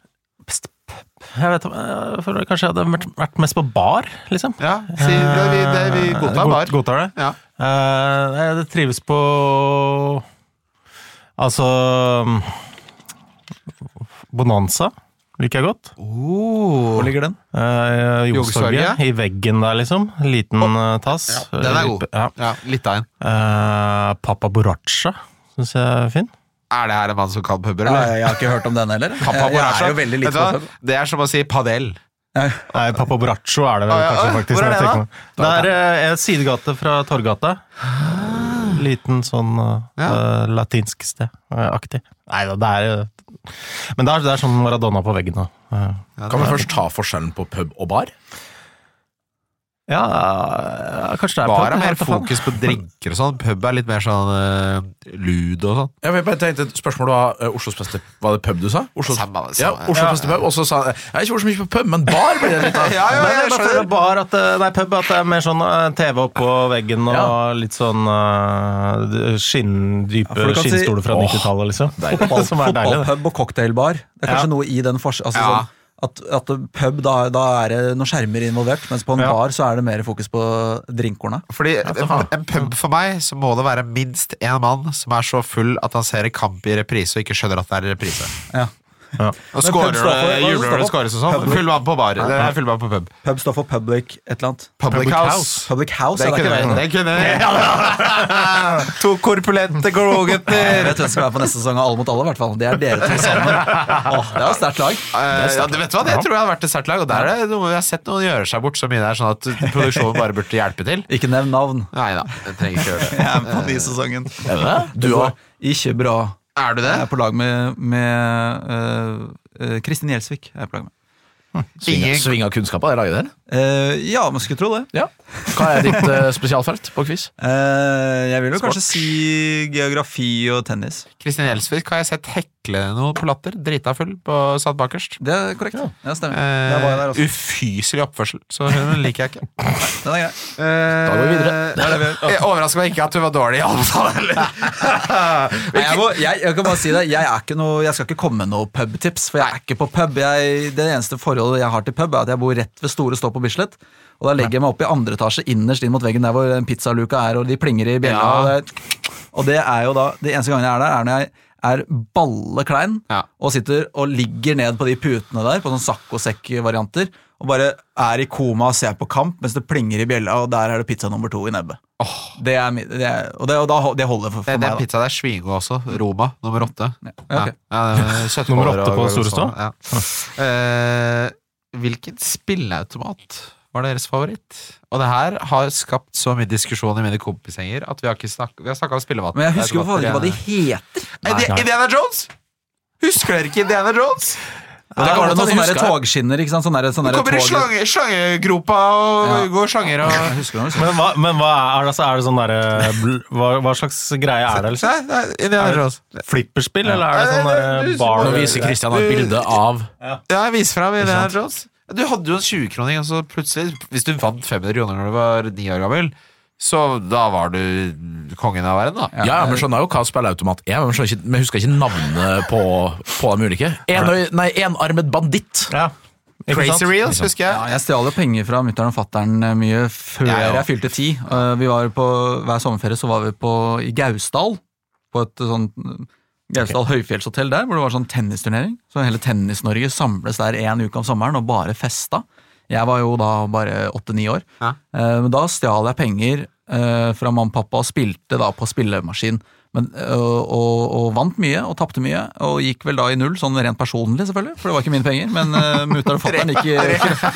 Speaker 4: Jeg vet jeg føler kanskje jeg hadde vært- vært mest på bar, liksom.
Speaker 2: Ja, si, det, vi, det, vi godtar
Speaker 4: Eh, god-
Speaker 2: bar.
Speaker 4: Godtar det.
Speaker 2: Ja.
Speaker 4: Eh, nei, det trives på Altså mm, Bonanza liker jeg godt.
Speaker 3: Hvor ligger den?
Speaker 4: Uh,
Speaker 2: Yogstorget.
Speaker 4: Yogstorget. I veggen der, liksom. Liten eh, tass.
Speaker 2: Den er god.
Speaker 4: Ja.
Speaker 2: Ja, litt av en.
Speaker 4: Eh, Papa Boracha syns jeg er fin.
Speaker 2: Er det her en mann som kan puber,
Speaker 3: Ja,
Speaker 2: eller?
Speaker 3: jeg har ikke hørt om den heller.
Speaker 2: Pappa
Speaker 3: Jeg, jeg
Speaker 2: Boracha.
Speaker 3: er jo veldig
Speaker 2: Vet
Speaker 3: lite
Speaker 2: du hva?
Speaker 3: på pub.
Speaker 2: Det er som å si padel.
Speaker 4: Nei, Papa Boracho er det vel
Speaker 2: Å, ja,
Speaker 4: kanskje
Speaker 2: å,
Speaker 4: faktisk.
Speaker 2: hvor er
Speaker 4: når
Speaker 2: det
Speaker 4: jeg tenker meg om. Det er eh, en sidegate fra Torgata. Liten sånn eh,
Speaker 2: Ja.
Speaker 4: eh, latinsk sted eh, aktig. Nei da, det er jo- Men det er, det er sånn Maradona på veggen nå. Eh,
Speaker 5: Kan vi først ta forskjellen på pub og bar?
Speaker 4: Ja, eh, kanskje det er
Speaker 2: Bar
Speaker 4: pub,
Speaker 2: er
Speaker 4: jeg
Speaker 2: mer
Speaker 4: vet da faen.
Speaker 2: fokus på drinker og sånn. Pub er litt mer sånn eh, lud og sånn.
Speaker 5: Jeg bare tenkte et spørsmål var eh, Oslos beste Var det pub du sa? Oslos,
Speaker 2: Samme, samme.
Speaker 5: ja, Oslos
Speaker 2: Ja.
Speaker 5: beste pub. Og så sa jeg har ikke vært så mye på pub, men bar ble det litt av.
Speaker 2: Ja, ja, jeg
Speaker 4: Nei, jeg bare
Speaker 2: skjønner.
Speaker 4: føler bar at, eh, nei, pub at det er mer sånn eh, TV oppå veggen og
Speaker 5: Ja.
Speaker 4: litt sånn eh, skinn, dype
Speaker 3: for du kan si-
Speaker 4: skinnstoler fra
Speaker 3: Åh,
Speaker 4: 90-tallet, liksom.
Speaker 3: Fotball-
Speaker 4: Som er deilig. det.
Speaker 3: Fotballpub og cocktailbar. Det er kanskje noe i den forskjellen. Altså,
Speaker 2: Ja.
Speaker 3: sånn, at, at pub, da, da er det noen skjermer involvert, mens på en
Speaker 4: Ja.
Speaker 3: bar så er det mer fokus på drinkorna.
Speaker 2: Fordi en, en pub for meg, så må det være minst én mann som er så full at han ser en kamp i reprise og ikke skjønner at det er reprise.
Speaker 3: Ja.
Speaker 2: Og
Speaker 3: Men
Speaker 2: scorer
Speaker 3: pub står for-
Speaker 2: det, jubler
Speaker 3: hva står
Speaker 2: når det
Speaker 3: for?
Speaker 2: scores og sånn. Full mann på bar. Det er full mann på pub.
Speaker 3: Pub står for public et eller annet.
Speaker 2: Public house.
Speaker 3: Public house,
Speaker 2: Det
Speaker 3: er det ikke
Speaker 2: kunne
Speaker 3: det?
Speaker 2: det. kunne jeg. To korpulente
Speaker 3: Jeg
Speaker 2: grogutter.
Speaker 3: vet hvem som er på neste sesong av Alle mot alle, i hvert fall. Det er dere to sammen. Åh, det er et sterkt lag.
Speaker 2: Eh, Ja, du vet hva, Det tror jeg hadde vært et sterkt lag. Og der er det noe jeg har sett noen gjøre seg bort så mye der, sånn at produksjonen bare burde hjelpe til.
Speaker 3: Ikke nevn navn.
Speaker 2: Nei da, jeg trenger ikke gjøre det.
Speaker 3: Jeg er med på ny sesongen.
Speaker 5: Du òg.
Speaker 3: Ikke bra.
Speaker 2: Er du det?
Speaker 3: Jeg er på lag med, med øh, øh, Kristin Gjelsvik. er Jeg på lag med.
Speaker 2: Ingen-
Speaker 5: Sving av kunnskap av det laget der.
Speaker 3: Eh, ja, man skulle tro det.
Speaker 5: Ja. Hva er ditt eh, spesialfelt på quiz?
Speaker 3: Eh, jeg vil jo kanskje si geografi og tennis.
Speaker 2: Kristin Gjelsvik har jeg sett hekle noe på Latter. Drita full på satt bakerst.
Speaker 3: Det er korrekt. Ja, stemmer. Der var jeg der
Speaker 2: Eh,
Speaker 3: også.
Speaker 2: ufyselig oppførsel, så hun liker jeg ikke.
Speaker 3: Den er grei.
Speaker 2: da
Speaker 5: går vi videre.
Speaker 2: Eh, Jeg overrasker meg ikke at hun var dårlig i avtale heller.
Speaker 3: Nei, jeg, må, jeg, jeg kan bare si det. Jeg, er ikke noe, jeg skal ikke komme med noe pubtips, for jeg er ikke på pub. Jeg, det eneste forholdet jeg har til pub, er at jeg bor rett ved Store Stå på Bislett. Og da legger jeg meg opp i andre etasje, innerst inn mot veggen der hvor den pizzaluka er, og de plinger i bjella.
Speaker 2: Ja.
Speaker 3: Og, det, og det er jo da De eneste gangene jeg er der, er når jeg er balleklein
Speaker 2: Ja.
Speaker 3: og sitter og ligger ned på de putene der, på sånn saccosekk-varianter, og bare er i koma og ser på kamp mens det plinger i bjella, og der er det pizza nummer to i nebbet. Det er, mi- det er, og det, og da, det holder for, for
Speaker 2: Det,
Speaker 3: meg.
Speaker 2: det
Speaker 3: da.
Speaker 2: er pizza der svinger også. Roma, nummer åtte.
Speaker 3: Ja, ok.
Speaker 4: Nummer åtte på Store Stå?
Speaker 2: Ja. Eh, hvilken spilleautomat var deres favoritt? Og det her har skapt så mye diskusjon i mine kompisgjenger at vi har ikke snakka, vi har snakket om spillemat.
Speaker 3: Men jeg husker jo faen ikke hva de
Speaker 2: Automater.
Speaker 3: heter.
Speaker 2: Nei, det- Indiana Jones! Husker dere ikke Indiana Jones?
Speaker 3: Og da var det noen
Speaker 5: det
Speaker 3: sånne der
Speaker 5: husker jeg.
Speaker 3: togskinner. ikke sant? Sånne der, sånne
Speaker 2: Det
Speaker 3: der
Speaker 2: kommer i
Speaker 3: tog-
Speaker 2: slange, slangegropa og
Speaker 3: Ja.
Speaker 2: går slanger og
Speaker 3: Jeg husker noe,
Speaker 4: Men hva, men hva er det, altså, er det sånn derre bl- hva, hva slags greie er det? Liksom?
Speaker 2: Nei, nei, Indiana Jones.
Speaker 4: Flipperspill, eller er det
Speaker 2: Nei,
Speaker 4: sånn
Speaker 2: nei,
Speaker 4: derre
Speaker 2: du-
Speaker 4: bar
Speaker 5: Nå viser Christian
Speaker 2: eh,
Speaker 5: et bilde av
Speaker 2: Ja, jeg viser fram Indiana Jones. Du hadde jo en 20-kroning, og så plutselig, hvis du vant 500 kroner når du var ni år gammel, så da var du kongen av verden, da.
Speaker 5: Ja, men skjønner jo hva spilleautomat er, men skjønner ikke, men husker ikke navnene på, på de ulike. Enøy- nei, enarmet banditt.
Speaker 4: Ja, ikke sant?
Speaker 2: Crazy Reels, husker jeg.
Speaker 3: Ja, jeg stjal jo penger fra mutter'n og fatter'n eh, mye før
Speaker 2: Jeg
Speaker 3: jeg fylte ti. Eh, Vi var på, Hver sommerferie så var vi på, i Gausdal, på et sånt Gausdal høyfjellshotell der, hvor det var sånn tennisturnering. Så hele Tennis-Norge samles der én uke om sommeren og bare festa. Jeg var jo da bare åtte-ni år.
Speaker 2: Ja.
Speaker 3: Eh, Men da stjal jeg penger eh, fra mamma og pappa og spilte da på spillemaskin. Men, eh, og, og, og vant mye og tapte mye, og gikk vel da i null, sånn rent personlig selvfølgelig, for det var ikke mine penger, men uh, mutter'n og fatter'n gikk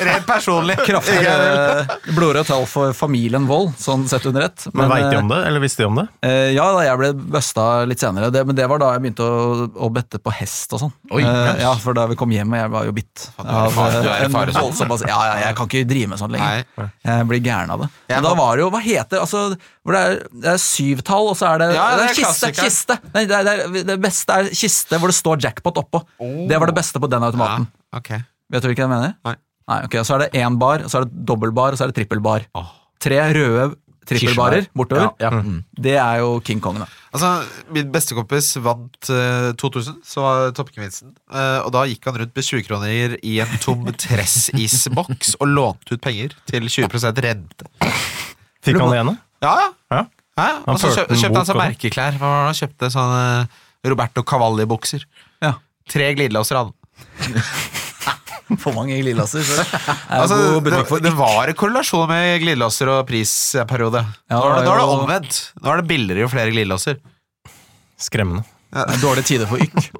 Speaker 2: Rent personlig.
Speaker 3: kraftigere blodrødt tall for familien Wold, sånn sett under ett.
Speaker 4: Men veit de om det, eller visste de om det?
Speaker 3: Eh, ja, da jeg ble busta litt senere. Det, men det var da jeg begynte å, å bette på hest og sånn.
Speaker 5: Oi,
Speaker 3: Eh, ja, For da vi kom hjem, og jeg var jo bitt.
Speaker 2: er
Speaker 3: av,
Speaker 2: far- du er
Speaker 3: eh,
Speaker 2: i
Speaker 3: en
Speaker 2: faresonen.
Speaker 3: voldsom- altså, Ja, ja, jeg kan ikke drive med sånt lenger.
Speaker 2: Nei.
Speaker 3: Jeg blir gæren av det.
Speaker 2: Jeg
Speaker 3: Men da
Speaker 2: må-
Speaker 3: var det jo Hva heter altså, hvor det? Er, det er syvtall, og så er
Speaker 2: Ja,
Speaker 3: det,
Speaker 2: ja,
Speaker 3: det,
Speaker 2: det
Speaker 3: er
Speaker 2: er
Speaker 3: kiste!
Speaker 2: klassiker.
Speaker 3: kiste. Nei, det, er, det, er, det beste er kiste hvor det står jackpot oppå. Det var det beste på den
Speaker 2: Oh. Ja,
Speaker 3: automaten.
Speaker 2: ok.
Speaker 3: Vet du hvilken jeg mener?
Speaker 2: Nei.
Speaker 3: Nei, ok, Så er det én bar, så er det dobbeltbar, og så er det trippelbar.
Speaker 2: Åh.
Speaker 3: Tre røde trippelbarer bortover.
Speaker 5: Ja, ja.
Speaker 2: Mm.
Speaker 3: Det er jo King Kong, da.
Speaker 2: Altså, Min bestekompis vant eh, 2000, så var toppgevinsten. Eh, og da gikk han rundt med 20 kroner i en tom tressisboks og lånte ut penger til 20 rente.
Speaker 4: Fikk han det igjen?
Speaker 2: Ja, ja.
Speaker 4: Ja.
Speaker 2: ja. Og så
Speaker 4: førte
Speaker 2: kjøp,
Speaker 4: en
Speaker 2: kjøpte han seg
Speaker 4: bok,
Speaker 2: merkeklær. Hva var det han kjøpte sånne Roberto Cavalli-bukser.
Speaker 3: Ja.
Speaker 2: Tre glidelåser hadde han.
Speaker 3: For mange glidelåser. så Det er jo
Speaker 2: Altså,
Speaker 3: god
Speaker 2: det,
Speaker 3: butikk for
Speaker 2: det var en korrelasjon med glidelåser og prisperiode.
Speaker 3: Ja,
Speaker 2: nå, er det, nå er det
Speaker 3: jo-
Speaker 2: omvendt. Nå er det billigere jo flere glidelåser.
Speaker 4: Skremmende.
Speaker 3: Det er dårlige tider for ykk.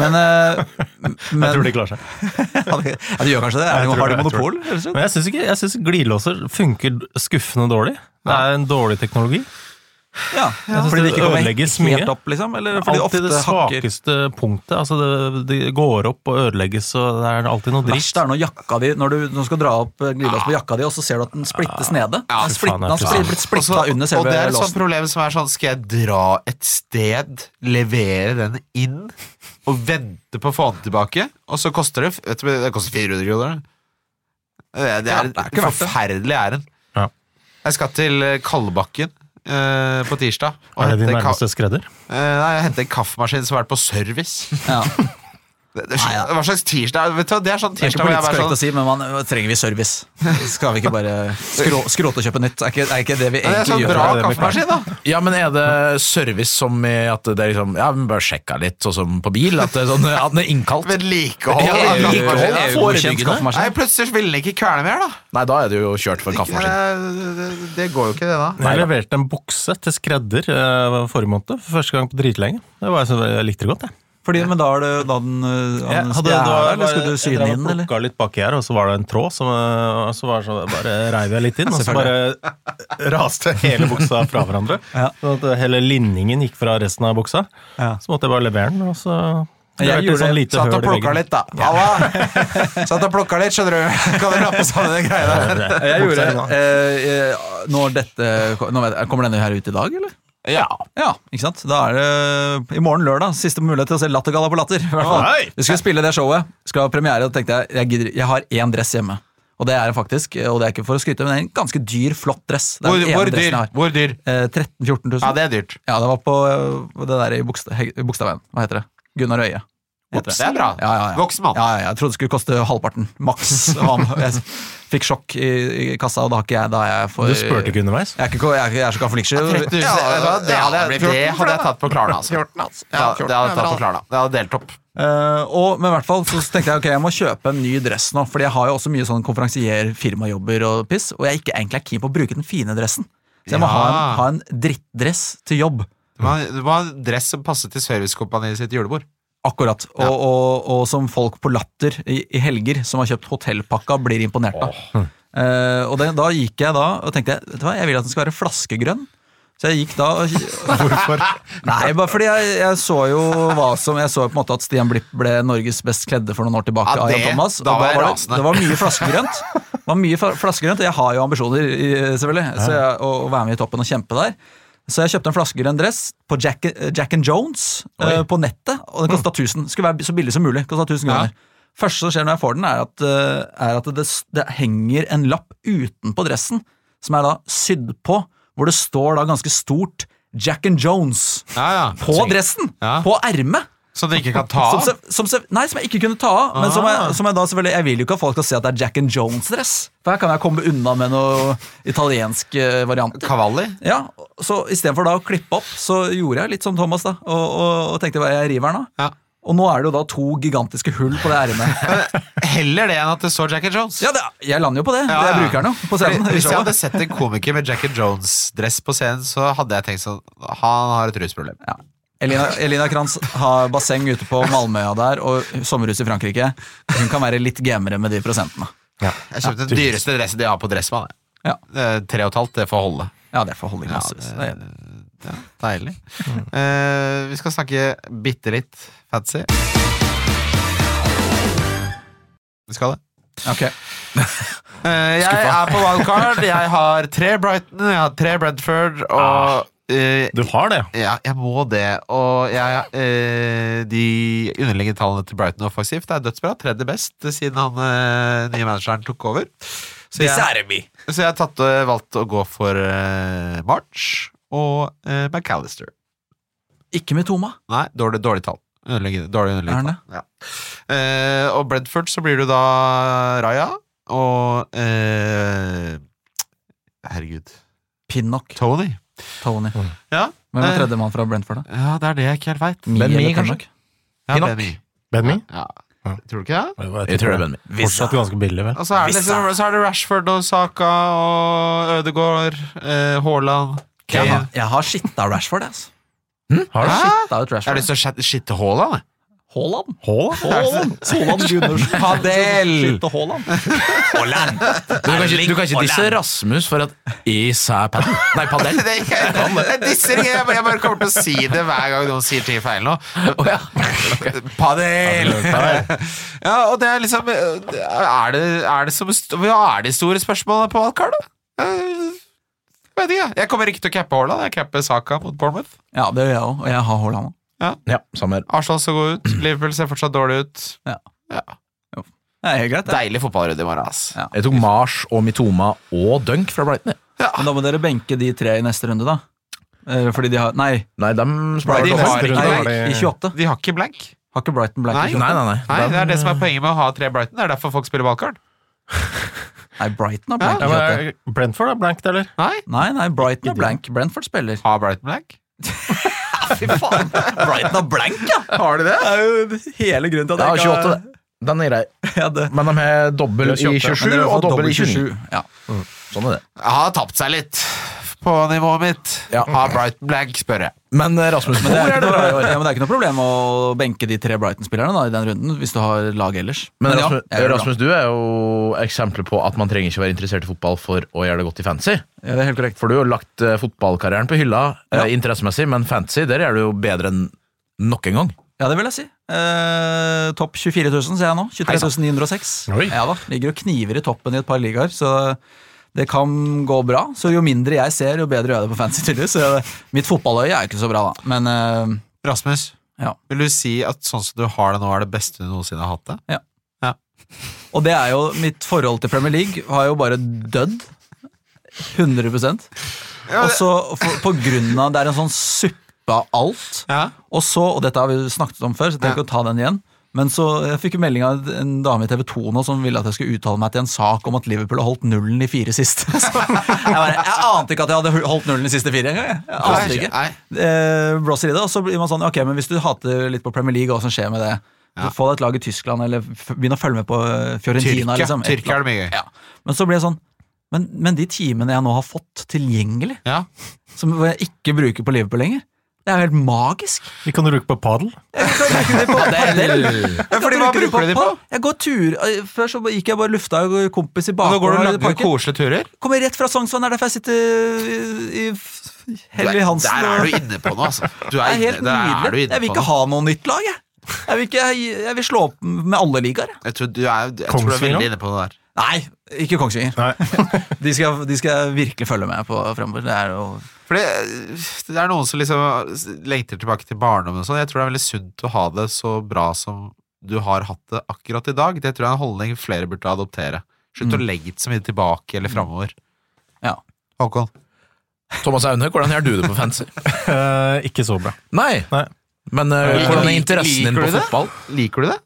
Speaker 3: Men, eh, men
Speaker 4: Jeg tror de klarer seg.
Speaker 3: Ja, det- ja, de gjør kanskje det. Er det
Speaker 4: tror
Speaker 3: har de
Speaker 4: det, jeg tror
Speaker 3: monopol? eller sånn?
Speaker 4: Men jeg syns, ikke, jeg synes glidelåser funker skuffende dårlig. Det er en dårlig teknologi.
Speaker 3: Ja,
Speaker 4: det
Speaker 3: Fordi det ikke kommer
Speaker 4: ødelegges mye.
Speaker 3: helt opp, liksom? Eller fordi det
Speaker 4: Alltid
Speaker 3: ofte
Speaker 4: det
Speaker 3: hakker
Speaker 4: svakeste punktet. Altså det, det går opp og ødelegges, og det er alltid noe dritt.
Speaker 3: Verst er når jakka di Når du, når du skal dra opp eh, glidelåsen på jakka di, og så ser du at den splittes nede. Den er
Speaker 4: fy faen,
Speaker 3: splitten, den
Speaker 4: det er
Speaker 3: har blitt
Speaker 2: Også-
Speaker 3: splitta under
Speaker 2: Altså, og
Speaker 3: selve
Speaker 2: det er et sånt
Speaker 3: låsen.
Speaker 2: problem som er sånn Skal jeg dra et sted, levere den inn og vente på å få den tilbake? Og så koster det vet du, Det koster 400 kroner. Det, det
Speaker 3: Ja,
Speaker 2: er
Speaker 3: det er
Speaker 2: et
Speaker 3: ikke verdt det.
Speaker 2: forferdelig ærend.
Speaker 4: Ja.
Speaker 2: Jeg skal til eh, Kalbakken eh, på tirsdag. og
Speaker 4: Er det din
Speaker 2: hente ka-
Speaker 4: nærmeste skredder?
Speaker 2: eh, nei, jeg henter en kaffemaskin som har vært på service.
Speaker 3: Ja.
Speaker 2: Det, det, Hva slags tirsdag? Vet du, hva, det er sånn
Speaker 3: Det er
Speaker 2: tirsdag
Speaker 3: ikke
Speaker 2: hvor jeg
Speaker 3: politisk
Speaker 2: bare
Speaker 3: korrekt å
Speaker 2: sånn
Speaker 3: si, men man øh, trenger vi service. Skal vi ikke bare skrå- skråte og kjøpe nytt? Er ikke, er ikke det
Speaker 2: Det
Speaker 3: vi
Speaker 2: er
Speaker 3: egentlig
Speaker 2: sånn
Speaker 3: gjør?
Speaker 2: bra
Speaker 4: det vi
Speaker 2: kaffemaskin, da.
Speaker 5: Ja, men er det service som i at det er liksom Ja, vi bare sjekka litt, sånn som på bil? At, det er sånn, at den er innkalt?
Speaker 2: Vedlikehold.
Speaker 5: Ja,
Speaker 2: av
Speaker 5: vedlikehold.
Speaker 2: kaffemaskinen.
Speaker 5: EU-
Speaker 3: EU-godkjent
Speaker 2: Nei,
Speaker 3: kaffemaskin.
Speaker 2: plutselig så ville den ikke kverne mer, da.
Speaker 5: Nei, da er du jo kjørt for en kaffemaskin.
Speaker 2: Det, det, det går jo ikke, det, da.
Speaker 4: Jeg leverte en bukse til skredder eh, forrige måned, for første gang på dritlenge. Det var, jeg så- jeg likte det godt, jeg.
Speaker 3: Fordi, men da er det da den øh,
Speaker 4: jeg
Speaker 3: den stjæla, eller skulle du sy den inn, eller?
Speaker 4: plukka litt baki her, og så var det en tråd, som, eh, og så, var det så bare reiv jeg litt inn, og så bare eh, raste hele buksa fra hverandre.
Speaker 3: Ja.
Speaker 4: Sånn at hele linningen gikk fra resten av buksa.
Speaker 3: Ja.
Speaker 4: Så måtte jeg bare levere den, og så
Speaker 3: Jeg
Speaker 4: Det var et
Speaker 3: gjorde
Speaker 4: sånn
Speaker 3: det.
Speaker 4: lite
Speaker 2: Satt og
Speaker 4: høl i
Speaker 2: plukka
Speaker 4: veggen.
Speaker 2: litt, da. Halla! Satt og plukka litt, skjønner du. Kan dere rappe sammen de greiene der?
Speaker 3: Jeg gjorde eh, eh, Når dette nå vet, jeg- Kommer denne her ut i dag, eller?
Speaker 5: Ja.
Speaker 3: Ja, ikke sant? Da er det i morgen lørdag siste mulighet til å se Lattergalla på Latter. i hvert fall.
Speaker 4: Oi!
Speaker 3: Vi skulle spille det showet, skulle ha premiere, og tenkte jeg jeg, gidder, jeg har én dress hjemme. Og det er det faktisk, og det er ikke for å skryte, men det er en ganske dyr, flott dress. Det er
Speaker 2: Hvor,
Speaker 3: den ene
Speaker 2: hvor
Speaker 3: dressen jeg
Speaker 2: dyr?
Speaker 3: har.
Speaker 2: Hvor dyr?
Speaker 3: Eh, 13 000-14 000.
Speaker 2: Ja, det er dyrt.
Speaker 3: Ja, det var på øh, det der i Bogstad- Heg- Bogstadveien. Hva heter det? Gunnar Øie. heter
Speaker 2: Ops, det er bra.
Speaker 3: Ja, ja, ja.
Speaker 2: Voksen mann.
Speaker 3: Ja, ja, jeg trodde det skulle koste halvparten, maks. Jeg fikk sjokk i, i kassa, og da har ikke jeg da er jeg for
Speaker 4: Du spurte ikke underveis?
Speaker 3: Jeg er, ikke, jeg er, ikke- jeg er så
Speaker 2: Ja, 13 000,
Speaker 3: kaffeliksjer.
Speaker 2: vet du hva, det, hadde, jeg- det hadde jeg tatt på Klarna, altså. Ja, det hadde jeg tatt på Klarna. Det hadde delt opp.
Speaker 3: Eh, og, men i hvert fall så tenkte jeg ok, jeg må kjøpe en ny dress nå, Fordi jeg har jo også mye sånn konferansier, firmajobber og piss, og jeg er ikke egentlig er keen på å bruke den fine dressen. Så jeg må
Speaker 2: Ja.
Speaker 3: ha en, ha en drittdress til jobb.
Speaker 2: Du må ha- Du må ha en dress som passer til servicekompaniet sitt julebord.
Speaker 3: Akkurat. Og, og, og som folk på Latter i, i helger som har kjøpt hotellpakka, blir imponert av. Eh, og det, da gikk jeg da og tenkte jeg, vet du hva, jeg vil at den skal være flaskegrønn. Så jeg gikk da og Hvorfor? Nei, bare fordi jeg, jeg så jo hva som Jeg så jo på en måte at Stian Blipp ble Norges best kledde for noen år tilbake.
Speaker 2: Ja,
Speaker 3: av Jan
Speaker 2: det-
Speaker 3: Thomas,
Speaker 2: da
Speaker 3: og
Speaker 2: var jeg
Speaker 3: det,
Speaker 2: rasende.
Speaker 3: det var mye flaskegrønt. Det var mye fa- flaskegrønt, Og jeg har jo ambisjoner, i- selvfølgelig, så jeg, å, å være med i toppen og kjempe der. Så jeg kjøpte en flaskegrønn dress på Jack, Jack and Jones eh, på nettet, og den kosta 1000. Skulle være så billig som mulig. Kosta 1000 kroner. Første som skjer når jeg får den, er at, eh, er at det, det henger en lapp utenpå dressen, som er da sydd på, hvor det står da ganske stort Jack and Jones
Speaker 2: Ja, ja.
Speaker 3: på dressen!
Speaker 2: Ja.
Speaker 3: På ermet!
Speaker 2: Som du ikke kan ta av.
Speaker 3: Som,
Speaker 2: Ah.
Speaker 3: se- som, se- nei, som jeg ikke kunne ta av. Men som jeg, som jeg da selvfølgelig Jeg vil jo ikke at folk skal se at det er Jack and Jones-dress. For her kan jeg komme unna med noe italiensk eh, variant.
Speaker 2: Cavalli.
Speaker 3: Ja, Så istedenfor da å klippe opp, så gjorde jeg litt som Thomas, da. Og, og, og tenkte bare jeg river den av.
Speaker 2: Ja.
Speaker 3: Og nå er det jo da to gigantiske hull på det ermet.
Speaker 2: Heller det enn at det står Jack and Jones.
Speaker 3: Ja, det, jeg lander jo på det.
Speaker 2: Ja,
Speaker 3: Det
Speaker 2: ja.
Speaker 3: jeg bruker den jo på
Speaker 2: Fordi
Speaker 3: scenen. i
Speaker 2: Hvis jeg
Speaker 3: showet.
Speaker 2: hadde sett en komiker med Jack and Jones-dress på scenen, så hadde jeg tenkt sånn Han har et rusproblem.
Speaker 3: Ja. Elina, Elina Kranz har basseng ute på Malmøya der og sommerhus i Frankrike. Hun kan være litt gamere med de prosentene.
Speaker 2: Jeg kjøpte den dyreste dressen de har på Dressmann. jeg.
Speaker 3: Ja.
Speaker 2: Eh, Tre og et halvt, det får holde.
Speaker 3: Ja, det får holde i massevis.
Speaker 2: det-
Speaker 3: Det er-
Speaker 2: Ja, deilig. Eh, vi skal snakke bitte litt fancy. Vi skal det.
Speaker 3: Ok.
Speaker 2: Eh, jeg er på wildcard. Jeg har tre Brighton, jeg har tre Bredford, og eh,
Speaker 4: Du har det,
Speaker 2: ja, jeg må det. Og jeg, eh, de underliggende tallene til Brighton offensivt er dødsbra. Tredje best siden han eh, nye manageren tok over. Så jeg, så jeg har tatt, eh, valgt å gå for eh, March og eh, McAllister.
Speaker 3: Ikke med Toma.
Speaker 2: Nei, dårlig, dårlig tall. Underliggende, dårlig
Speaker 3: Er
Speaker 2: underliggende tall. Ja. Eh, og Bredford så blir du da Raja og eh, Herregud.
Speaker 3: Pinnock.
Speaker 2: Tony.
Speaker 3: Tony.
Speaker 4: Mm.
Speaker 2: Ja,
Speaker 3: Hvem er
Speaker 2: Eh.
Speaker 3: tredjemann fra Brentford, da?
Speaker 2: ja det er det jeg ikke helt veit.
Speaker 3: Mie eller
Speaker 5: Mee, kanskje?
Speaker 3: Pinnock?
Speaker 2: Ja,
Speaker 5: Pinnock.
Speaker 2: Benny.
Speaker 4: Benny?
Speaker 2: Ja. Tror du ikke det?
Speaker 5: Jeg tror det er Benny.
Speaker 4: Fortsatt ganske billig, vel?
Speaker 2: Og så er, det, liksom, så er det Rashford og Saka og Ødegaard, eh, Haaland
Speaker 3: Jeg
Speaker 2: Kane.
Speaker 3: har, jeg har skitta Rashford, jeg, altså.
Speaker 4: Hm? Har du?
Speaker 3: Skitta ut
Speaker 2: Jeg har
Speaker 3: Rashford.
Speaker 2: lyst til å shit- shitte Haaland. jeg.
Speaker 3: Haaland.
Speaker 4: Haaland?
Speaker 3: Haaland Gundersen.
Speaker 5: Padel!
Speaker 3: Skytte Haaland.
Speaker 5: Du kan ikke, du kan ikke disse Rasmus for at Isæ padel. Nei, padel.
Speaker 2: Det er ikke, jeg disser ikke, jeg bare- jeg bare kommer til å si det hver gang noen sier ting feil nå. Padel! Ja, og det er liksom Er det, er det, som, hva er de store spørsmålene på valgkart, da? Eh, Vet ikke. Jeg kommer ikke til å cappe Haaland. Jeg capper Saka mot Bournemouth.
Speaker 3: Ja, det gjør jeg òg. Og jeg har Haaland òg.
Speaker 5: Ja, samme her.
Speaker 2: Arsenal skal gå ut. Liverpool ser fortsatt dårlig ut.
Speaker 3: Det er helt greit, det.
Speaker 2: Deilig fotballrunde i morgen, ass.
Speaker 3: Ja.
Speaker 5: Jeg tok Mars og Mitoma og Dunk fra Brighton. jeg.
Speaker 3: Men da må dere benke de tre i neste runde, da. Eh, Fordi de har Nei,
Speaker 5: Nei, dem
Speaker 2: Nei,
Speaker 5: sparer
Speaker 2: de
Speaker 5: dobbelt.
Speaker 2: har ikke
Speaker 3: nei
Speaker 2: har
Speaker 3: i 28.
Speaker 2: De har ikke blank.
Speaker 3: Har ikke Brighton Black i
Speaker 5: Nei,
Speaker 3: 28?
Speaker 5: nei, nei.
Speaker 2: Nei, Det er det som er poenget med å ha tre Brighton. Det er derfor folk spiller valgkart.
Speaker 3: Nei, Brighton har blank
Speaker 4: Ja,
Speaker 3: i 28.
Speaker 4: men, er Brentford er blankt, eller?
Speaker 2: Nei,
Speaker 3: Nei, nei, Brighton er blank. Brentford spiller.
Speaker 2: har Brighton blank?
Speaker 3: Fy faen! Brighton er blank, ja!
Speaker 2: Har de
Speaker 3: Det er jo hele grunnen til
Speaker 5: Ja,
Speaker 3: at jeg
Speaker 5: 28, det. Den er grei.
Speaker 3: Ja, det.
Speaker 5: Men de har dobbel
Speaker 4: Det
Speaker 5: i
Speaker 4: er 28,
Speaker 5: 27
Speaker 4: men
Speaker 5: og dobbel i 29.
Speaker 3: Ja.
Speaker 5: Sånn er det.
Speaker 2: har tapt seg litt på nivået mitt.
Speaker 5: Ja.
Speaker 2: Har Brighton blank, spør jeg.
Speaker 5: Men eh, Rasmus,
Speaker 3: Men det, er
Speaker 5: hvor
Speaker 3: ikke
Speaker 5: er det
Speaker 3: noe,
Speaker 5: bra i år?
Speaker 3: ja, men det er ikke noe problem å benke de tre Brighton-spillerne da, i den runden, hvis du har lag ellers.
Speaker 5: Men
Speaker 3: ja,
Speaker 5: Rasmus,
Speaker 3: jeg gjør det bra.
Speaker 5: Rasmus, du er jo eksempelet på at man trenger ikke være interessert i fotball for å gjøre det godt i fantasy.
Speaker 3: ja, det er helt korrekt.
Speaker 5: For du har lagt eh, fotballkarrieren på hylla eh, interessemessig, men fantasy, der er du jo bedre enn nok en gang.
Speaker 3: Ja, det vil jeg si. Eh, topp 24 000, ser jeg nå. 23 906.
Speaker 4: Oi.
Speaker 3: Ja da, Ligger og kniver i toppen i et par ligaer, så det kan gå bra. Så jo mindre jeg ser, jo bedre gjør jeg det på fancy, tydeligvis. Så mitt fotballøye er ikke så bra, da. Men eh,
Speaker 2: Rasmus,
Speaker 3: Ja.
Speaker 2: vil du si at sånn som du har det nå, er det beste du noensinne har hatt det?
Speaker 3: Og det er jo mitt forhold til Premier League har jo bare dødd. 100 Og så for- på grunn av Det er en sånn suppe av alt.
Speaker 2: Ja.
Speaker 3: Og så, og dette har vi jo snakket om før, så jeg trenger ikke å ta den igjen. Men så jeg fikk jo melding av en dame i TV 2 nå som ville at jeg skulle uttale meg til en sak om at Liverpool har holdt nullen i fire siste. Så jeg, bare, jeg ante ikke at jeg hadde holdt nullen i siste fire engang. jeg. Jeg ante ikke.
Speaker 2: Nei.
Speaker 3: Eh, blåser i det, og så blir man sånn Ok, men hvis du hater litt på Premier League, hva som skjer med det? Få deg et lag i Tyskland, eller f begynn å følge med på eh, Fiorentina.
Speaker 2: Tyrkia,
Speaker 3: liksom, et
Speaker 2: Tyrkia
Speaker 3: eller
Speaker 2: er det mye gøy.
Speaker 3: annet. Ja. Men så blir jeg sånn men, men de timene jeg nå har fått tilgjengelig,
Speaker 2: Ja.
Speaker 3: som jeg ikke bruker på Liverpool lenger, det er jo helt magisk.
Speaker 4: Vi kan bruke på padel.
Speaker 3: Ja,
Speaker 2: Fordi hva bruker du de på?
Speaker 3: Jeg går tur. eh, Før så gikk jeg bare lufta og kompis i
Speaker 2: Nå går du
Speaker 3: bakgården. i
Speaker 2: lange,
Speaker 3: parken.
Speaker 2: koselige turer.
Speaker 3: Kommer rett fra Sognsvann, det er derfor jeg sitter i, i Helly Hansen.
Speaker 2: Der
Speaker 3: og-
Speaker 2: er du inne på noe, altså. Du
Speaker 3: Det
Speaker 2: er
Speaker 3: er helt
Speaker 2: inne, der er du
Speaker 3: nydelig.
Speaker 2: inne
Speaker 3: Jeg
Speaker 2: på
Speaker 3: vil
Speaker 2: noe.
Speaker 3: ikke ha noe nytt lag, jeg. Jeg vil, ikke, jeg, jeg vil slå opp med alle ligaer. jeg.
Speaker 2: Jeg tror du er, jeg tror du er
Speaker 4: Kongsvinger?
Speaker 2: veldig inne på noe der.
Speaker 3: Nei, ikke Kongsvinger. De skal, de skal jeg virkelig følge med på fremover. Det er jo
Speaker 2: Fordi eh, det er noen som liksom lengter tilbake til barndommen og sånn. Jeg tror det er veldig sunt å ha det så bra som du har hatt det akkurat i dag. Det tror jeg er en holdning flere burde adoptere. Slutt å legge det så mye tilbake eller framover.
Speaker 3: Ja.
Speaker 2: Håkon?
Speaker 5: Thomas Aune, hvordan gjør du det på fantasy?
Speaker 4: Eh, ikke så bra.
Speaker 5: Nei,
Speaker 4: Nei.
Speaker 5: men eh,
Speaker 2: Liker-
Speaker 5: hvordan er interessen din
Speaker 2: liker
Speaker 5: på
Speaker 2: du det?
Speaker 5: fotball?
Speaker 2: Liker du det?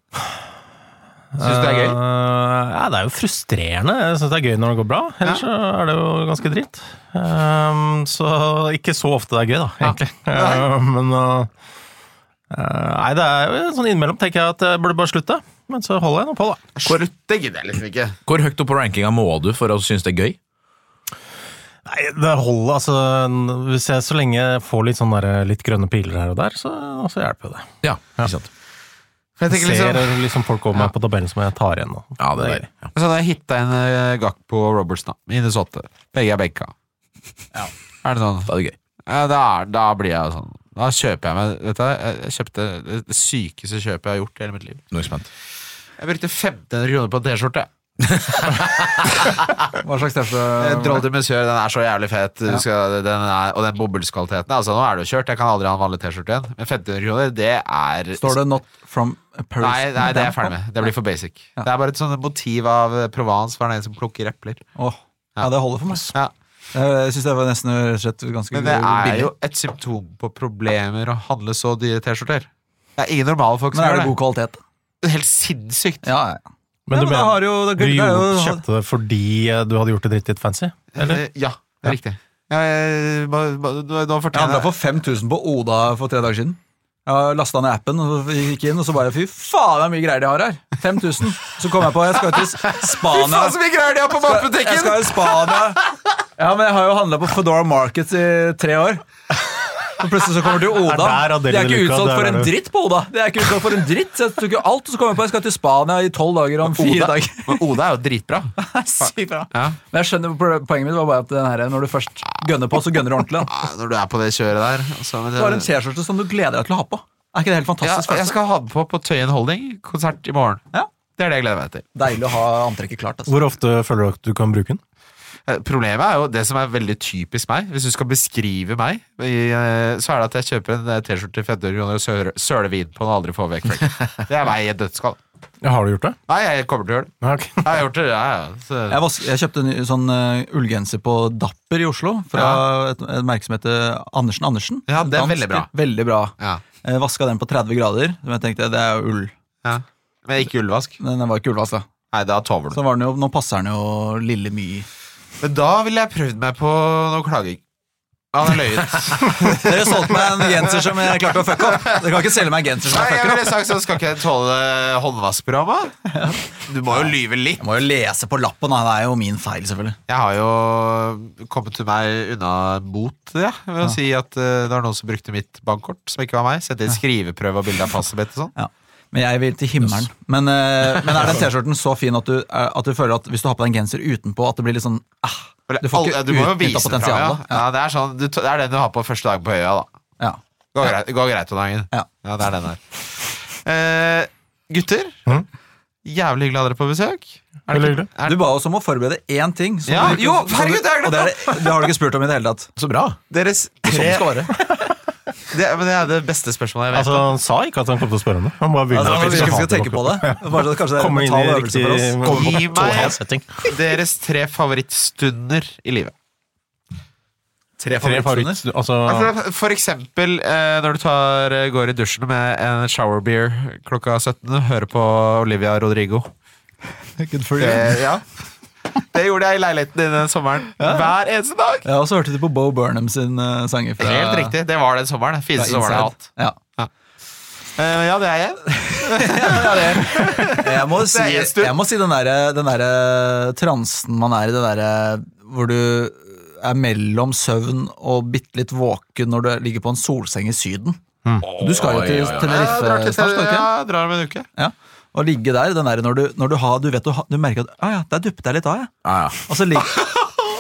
Speaker 2: Syns du det er gøy?
Speaker 4: Eh, ja, det er jo frustrerende. Jeg syns det er gøy når det går bra, ellers så er det jo ganske dritt. Ehm, så ikke så ofte det er gøy, da, egentlig. Eh, men eh, eh, Nei, det er jo sånn innimellom tenker jeg at jeg burde bare slutte, men så holder jeg nå på, da.
Speaker 2: Slutt, det gidder jeg liksom ikke.
Speaker 5: Hvor høyt opp på rankinga må du for å synes det er gøy?
Speaker 4: Nei, det holder, altså Hvis jeg så lenge får litt sånn der, litt grønne piler her og der, så, så hjelper jo det.
Speaker 5: Ja, ikke sant.
Speaker 2: For jeg
Speaker 4: Jeg
Speaker 2: tenker liksom,
Speaker 4: ser liksom folk over meg på tabellen som jeg tar igjen nå.
Speaker 5: Ja, det er, ja.
Speaker 2: sånn har jeg hitta en eh, Gakpo og Robertson, da. Minnesota. Begge er benka. Er det sånn?
Speaker 5: Da er det gøy.
Speaker 2: Ja, da, er, da blir jeg sånn Da kjøper jeg meg Vet du, hva? jeg kjøpte det- det sykeste kjøpet jeg har gjort i hele mitt liv.
Speaker 5: Nå er jeg spent.
Speaker 2: Jeg brukte 1500 kroner på en T-skjorte.
Speaker 3: Hva slags
Speaker 2: Eh,
Speaker 3: treffe
Speaker 2: Drôle de Monsieur, den er så jævlig fet, du skal, den er, og den bomullskvaliteten Altså, nå er det jo kjørt, jeg kan aldri ha en vanlig T-skjorte igjen. Men 1500 kroner, det er
Speaker 3: Står det 'Not from Paris'?
Speaker 2: Nei, nei, det er jeg ferdig med. Det blir for basic.
Speaker 3: Ja.
Speaker 2: Det er bare et sånt motiv av eh, Provence, for det er en som plukker epler.
Speaker 3: Åh, ja, det holder for meg. Eh,
Speaker 2: Ja.
Speaker 3: Jeg syns det var nesten rett og slett ganske
Speaker 2: Men det er
Speaker 3: billig.
Speaker 2: jo et symptom på problemer å handle så dyre T-skjorter. Det er ingen normale folk som
Speaker 3: Men er
Speaker 2: gjør
Speaker 3: det god
Speaker 2: det.
Speaker 3: kvalitet?
Speaker 2: Det er Helt sinnssykt.
Speaker 3: Ja, ja. Ja, men
Speaker 4: Men du
Speaker 3: det
Speaker 4: mener-
Speaker 3: har jo, det,
Speaker 4: Du
Speaker 3: det er
Speaker 4: gjorde,
Speaker 3: jo
Speaker 4: kjøpte det fordi eh, du hadde gjort det dritt litt fancy? Eller?
Speaker 2: Eh, Ja, det er riktig. Ja, jeg- må- må- nå, nå
Speaker 3: Jeg
Speaker 2: fortjener
Speaker 3: handla
Speaker 2: jeg
Speaker 3: for 5000 på Oda for tre dager siden. Jeg lasta ned appen og gikk inn, og så bare fy faen, det er mye greier de har her. 5000. Så kom jeg på jeg skal jo til Spania.
Speaker 2: Faen, så mye greier de har på
Speaker 3: Jeg
Speaker 2: matbutikken!
Speaker 3: skal jo Spania. Ja, men jeg har jo handla på Foodora Markets i tre år. Og plutselig så kommer du til
Speaker 4: Det
Speaker 3: Oda.
Speaker 4: er der
Speaker 3: De
Speaker 4: Adele
Speaker 3: er ikke
Speaker 4: Luca,
Speaker 3: utsolgt
Speaker 4: der
Speaker 3: for
Speaker 4: er
Speaker 3: en
Speaker 4: du.
Speaker 3: dritt på Oda! Det er ikke utsolgt for en dritt. Så jeg tok jo alt, og så kom jeg på at jeg skal til Spania i tolv dager om fire
Speaker 2: Oda,
Speaker 3: dager.
Speaker 2: men Oda er jo dritbra.
Speaker 3: Sykt bra.
Speaker 2: Ja.
Speaker 3: Men jeg skjønner, po- poenget mitt var bare at den her, når du først gønner på, så gønner du ordentlig. da.
Speaker 2: Ja, Når du er på det kjøret der. altså, men det-
Speaker 3: Du har en T-skjorte som du gleder deg til å ha på. Er ikke det helt
Speaker 2: ja,
Speaker 3: fantastisk?
Speaker 2: jeg
Speaker 3: følelse?
Speaker 2: skal ha den på på Tøyen Holding, konsert i morgen.
Speaker 3: Ja.
Speaker 2: Det er det jeg gleder meg til.
Speaker 3: Deilig å ha antrekket klart. Altså.
Speaker 4: Hvor ofte føler du at du kan bruke den?
Speaker 2: Eh, Problemet er jo det som er veldig typisk meg. Hvis du skal beskrive meg, i, eh, så er det at jeg kjøper en eh, T-skjorte til 500 kroner og søler- søler vin på den og aldri får vekk. flekk. Det er meg i et nøtteskall.
Speaker 4: Ja, har du gjort det?
Speaker 2: Nei, jeg kommer til å gjøre det.
Speaker 4: Ja, ok.
Speaker 2: Jeg har gjort det, ja, ja. Så,
Speaker 3: Jeg, vask, jeg kjøpte en ny sånn eh, ullgenser på Dapper i Oslo, fra et, et merke som heter Andersen Andersen.
Speaker 2: Ja, det er
Speaker 3: Dansk-
Speaker 2: veldig bra.
Speaker 3: Veldig bra.
Speaker 2: ja.
Speaker 3: Jeg vaska den på 30 grader, som jeg tenkte det er jo ull.
Speaker 2: Ja. Men ikke ullvask.
Speaker 3: Men Den var ikke ullvaska.
Speaker 2: Nei, da tover du.
Speaker 3: Så var den jo, nå passer den jo lille My.
Speaker 2: Men da ville jeg prøvd meg på noe klaging. Han har løyet.
Speaker 3: Dere solgte meg en genser som jeg klarte å fucke opp. Dere kan ikke selge meg en genser som
Speaker 2: Nei,
Speaker 3: jeg
Speaker 2: jeg
Speaker 3: fucker opp.
Speaker 2: ville sagt sånn, skal ikke jeg tåle håndvaskprogrammet? Du må jo lyve litt.
Speaker 3: Jeg må jo lese på lappen, da. det er jo min feil, selvfølgelig.
Speaker 2: Jeg har jo kommet til meg unna bot ja, ved å si at eh, det var noen som brukte mitt bankkort, som ikke var meg. Sendte inn skriveprøve og bilde av passet mitt og sånn.
Speaker 3: Ja. Men jeg vil til himmelen. Men, eh, men er den T-skjorten så fin at du, er- at du føler at hvis du har på deg en genser utenpå, at det blir litt sånn ah,
Speaker 2: For
Speaker 3: Du får
Speaker 2: alle- du
Speaker 3: ikke
Speaker 2: må jo
Speaker 3: utnytta
Speaker 2: vise det fram, ja.
Speaker 3: potensialet.
Speaker 2: ja, det er sånn, du, t- det er den du har på første dagen på øya, da.
Speaker 3: Ja.
Speaker 2: Går greit, går greit om dagen.
Speaker 3: Ja.
Speaker 2: Ja, det er den der. Eh, gutter,
Speaker 3: Mm.
Speaker 4: Mhm.
Speaker 2: jævlig hyggelig å ha dere på besøk. Er
Speaker 4: Veldig
Speaker 2: ikke-
Speaker 4: hyggelig.
Speaker 2: er-
Speaker 3: Du ba oss om å forberede én ting. som
Speaker 2: Ja,
Speaker 3: du ikke-
Speaker 2: jo,
Speaker 3: som du-
Speaker 2: herregud, jeg har glemt
Speaker 3: og det, er, det det har du ikke spurt om i det hele tatt.
Speaker 5: Så bra.
Speaker 2: Deres
Speaker 5: Sånn
Speaker 2: tre
Speaker 5: skal det være.
Speaker 2: det, men det er det beste spørsmålet jeg vet.
Speaker 4: Altså, Han sa ikke at han kom til å spørre om det. Han bare ville
Speaker 3: Altså, vi
Speaker 4: at vi
Speaker 3: skal,
Speaker 4: skulle ha
Speaker 3: skal tenke på det. Bare så at kanskje det er en
Speaker 4: Komme inn i
Speaker 3: mental øvelse
Speaker 4: riktig
Speaker 3: for oss.
Speaker 2: Gi meg-
Speaker 4: total setting.
Speaker 2: Deres tre favorittstunder i livet.
Speaker 3: Tre
Speaker 4: Tre
Speaker 3: favorittstunder.
Speaker 4: favorittstunder. Altså,
Speaker 2: Altså, for eksempel eh, når du tar, eh, går i dusjen med en shower beer klokka 17, hører på Olivia Rodrigo.
Speaker 3: Good for
Speaker 2: Det,
Speaker 3: you.
Speaker 2: ja. det gjorde jeg i leiligheten din den sommeren. Hver eneste dag!
Speaker 3: Ja, og så hørte du på Bo Burnham sin eh, sanger fra
Speaker 2: Helt riktig. Det var den sommeren. Den
Speaker 3: fra
Speaker 2: fineste sommeren jeg har hatt.
Speaker 3: Inside. Ja.
Speaker 2: Eh, ja, det er jeg.
Speaker 3: Jeg må si,
Speaker 2: er en stund.
Speaker 3: jeg må si den derre den derre transen man er i, det derre hvor du er mellom søvn og bitte litt våken når du ligger på en solseng i Syden. Du skal jo
Speaker 5: Oi,
Speaker 3: til
Speaker 5: oi, oi.
Speaker 2: Jeg drar,
Speaker 3: Tenerife
Speaker 2: til,
Speaker 3: snart, skal du
Speaker 2: ja,
Speaker 3: ikke?
Speaker 2: jeg drar om en uke.
Speaker 3: Ja. Å ligge der, den der når du, når du har Du vet du, har- du merker at ah, ja, der duppet jeg litt av, jeg.
Speaker 5: Ja, ja.
Speaker 3: Og så ligger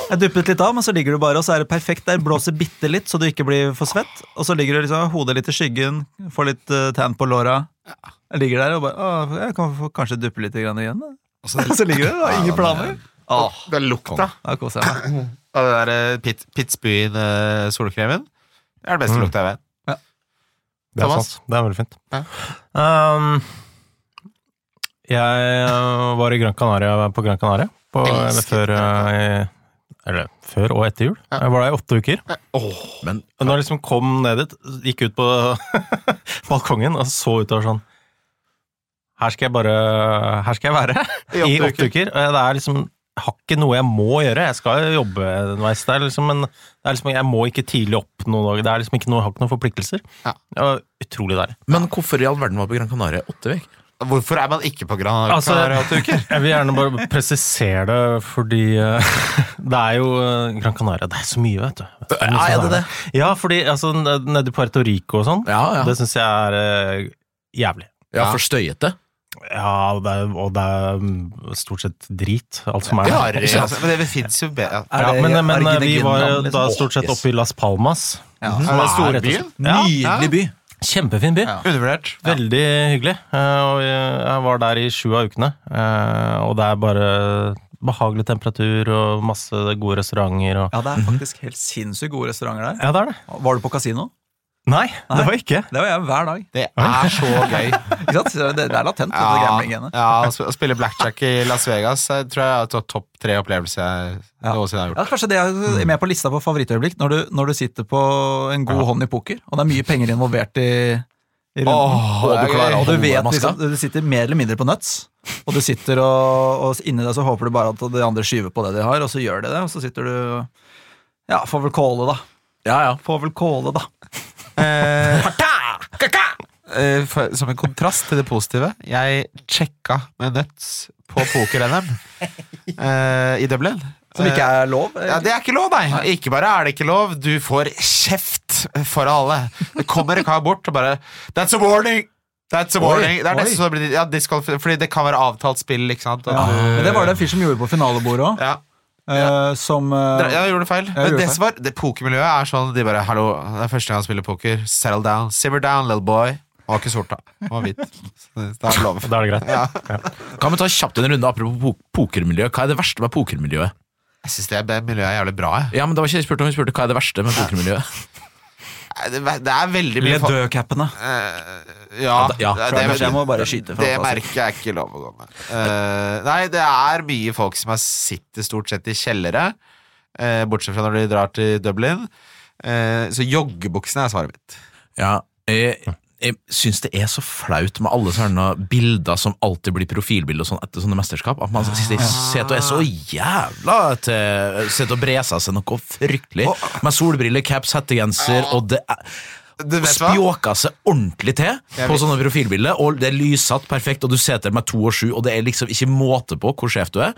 Speaker 3: Jeg duppet litt av, men så ligger du bare, og så er det perfekt der. Blåser bitte litt, så du ikke blir for svett. Og så ligger du liksom hodet litt i skyggen, får litt eh, tan på låra. Jeg ligger der og bare Å, jeg kan få kanskje duppe litt grann igjen, da. Så ligger du der, ingen planer. Åh,
Speaker 2: Det er lukta
Speaker 3: da koser jeg meg.
Speaker 2: av den der eh, Pit, Pittsbyen eh, solkremen. Det er den beste lukta jeg vet.
Speaker 4: det er
Speaker 2: Thomas?
Speaker 4: sant. Det er veldig fint. Um, jeg uh, var i Gran Canaria, på Gran Canaria på, eller før, uh, i, eller, før og etter jul. Jeg var der i åtte uker.
Speaker 5: Men
Speaker 4: Og Når jeg liksom kom ned dit, gikk ut på balkongen og så utover sånn Her skal jeg bare Her skal jeg være i
Speaker 2: åtte
Speaker 4: åtte uker. Og Det er liksom jeg har ikke noe jeg må gjøre. Jeg skal jo jobbe underveis, der, liksom, men det er liksom, jeg må ikke tidlig opp noen dager. Det er liksom ikke noe, jeg har ikke noen forpliktelser.
Speaker 2: Ja.
Speaker 4: Det var utrolig deilig.
Speaker 5: Men hvorfor i all verden var på Gran Canaria åtte vek?
Speaker 2: Hvorfor er man ikke på Gran
Speaker 4: Altså-
Speaker 2: Canaria åtte uker?
Speaker 4: Jeg vil gjerne bare presisere det, fordi eh, det er jo eh, Gran Canaria Det er så mye, vet du. Vet du
Speaker 5: Ja, er det det?
Speaker 4: Ja, fordi altså, n- nede i Puerto Rico og sånn,
Speaker 5: Ja, ja.
Speaker 4: det syns jeg er eh, jævlig.
Speaker 5: ja for støyete.
Speaker 4: Ja, og det er, og det er mm, stort sett drit, alt som er
Speaker 2: Ja,
Speaker 4: der. Ikke sant?
Speaker 2: altså, men det finnes jo bedre
Speaker 3: Er
Speaker 4: Ja,
Speaker 3: det
Speaker 4: men men
Speaker 3: Argentina,
Speaker 4: vi var jo
Speaker 3: liksom?
Speaker 4: da stort sett oppe i Las Palmas.
Speaker 3: Ja.
Speaker 2: Er
Speaker 4: som
Speaker 2: det
Speaker 4: rett og
Speaker 2: storbyen?
Speaker 4: slett- Ja,
Speaker 3: Nydelig by.
Speaker 4: ja. Kjempefin by.
Speaker 3: Ja.
Speaker 2: Undervurdert.
Speaker 4: Veldig hyggelig. Eh, Og jeg jeg var der i sju av ukene, eh, og det er bare behagelig temperatur og masse gode restauranter og
Speaker 3: Ja, det er faktisk helt sinnssykt gode restauranter der.
Speaker 4: Ja, det er det.
Speaker 3: Var du på kasino?
Speaker 4: Nei, det var ikke.
Speaker 3: Det var jeg hver dag.
Speaker 2: Det er så gøy.
Speaker 3: Ikke sant? Så Det, det er latent. dette
Speaker 2: Ja,
Speaker 3: gambling-genet.
Speaker 2: ja, å spille blackjack i Las Vegas jeg tror jeg er topp tre opplevelse jeg
Speaker 3: Ja.
Speaker 2: noensinne har gjort.
Speaker 3: Ja, kanskje det er med på lista på favorittøyeblikk, når du, når du sitter på en god hånd i poker, og det er mye penger involvert i, i runden.
Speaker 2: Åh,
Speaker 3: og
Speaker 2: det
Speaker 3: du,
Speaker 2: er
Speaker 3: klarer,
Speaker 2: gøy.
Speaker 3: og du, vet,
Speaker 5: Holde maska.
Speaker 3: liksom, du sitter mer eller mindre på nuts, og du sitter og, og inni deg så håper du bare at de andre skyver på det de har, og så gjør de det, og så sitter du Ja, får vel kåle, da.
Speaker 5: Ja, ja.
Speaker 3: Får vel kåle, da.
Speaker 2: Eh, for, som en kontrast til det positive, jeg sjekka med Nuts på poker-NM eh, i Dublin.
Speaker 3: Som ikke er lov.
Speaker 2: Ja, det er ikke lov, nei. Ikke bare er det ikke lov, du får kjeft rett for alle. Det kommer en kar bort og bare That's a warning! That's a warning! det er nesten så det blir ja, diskvalif- Fordi det kan være avtalt spill, ikke sant?
Speaker 3: Ja.
Speaker 2: Og,
Speaker 3: Men det var det en fyr som gjorde på finalebordet òg.
Speaker 2: ja.
Speaker 3: Som eh,
Speaker 2: Dere- Jeg gjorde feil. Men
Speaker 3: gjorde
Speaker 2: det
Speaker 3: feil.
Speaker 2: som var det pokermiljøet, er sånn de bare Hallo, det er første gang han spiller poker. Settle down. Simmer down, little boy. Han var ikke sort, da. Han var hvit. Så det- det er lov.
Speaker 4: Da er det greit.
Speaker 5: Kan vi ta kjapt en runde apropos po- pokermiljø? Hva er det verste med pokermiljøet?
Speaker 2: Jeg syns det er- miljøet er jævlig bra, jeg.
Speaker 5: Ja, men det var ikke det jeg spurte om. Vi spurte hva er det verste med pokermiljøet.
Speaker 2: Nei, Det det er veldig mye folk-
Speaker 3: Ledø-cappene.
Speaker 2: Eh, ja,
Speaker 5: Ja, da- ja,
Speaker 2: det,
Speaker 3: Jeg må bare skyte fra
Speaker 2: det
Speaker 3: meg, altså.
Speaker 2: merket jeg ikke lov å gå med. Eh, nei, det er mye folk som er, sitter stort sett i kjellere, eh, bortsett fra når de drar til Dublin. Eh, så joggebuksene er svaret mitt.
Speaker 5: Ja, jeg, jeg syns det er så flaut med alle sånne bilder som alltid blir profilbilder og sånn etter sånne mesterskap. At man sitter i set og er så jævla til Sitter og breser seg noe fryktelig. Med solbriller, caps, hettegenser og det er
Speaker 2: Du vet hva?
Speaker 5: Spjåka seg ordentlig til
Speaker 2: Jeg
Speaker 5: på
Speaker 2: vet-
Speaker 5: sånne profilbilder, og det er lyssatt perfekt, og du sitter med to og sju, og det er liksom ikke måte på hvor sjef du er.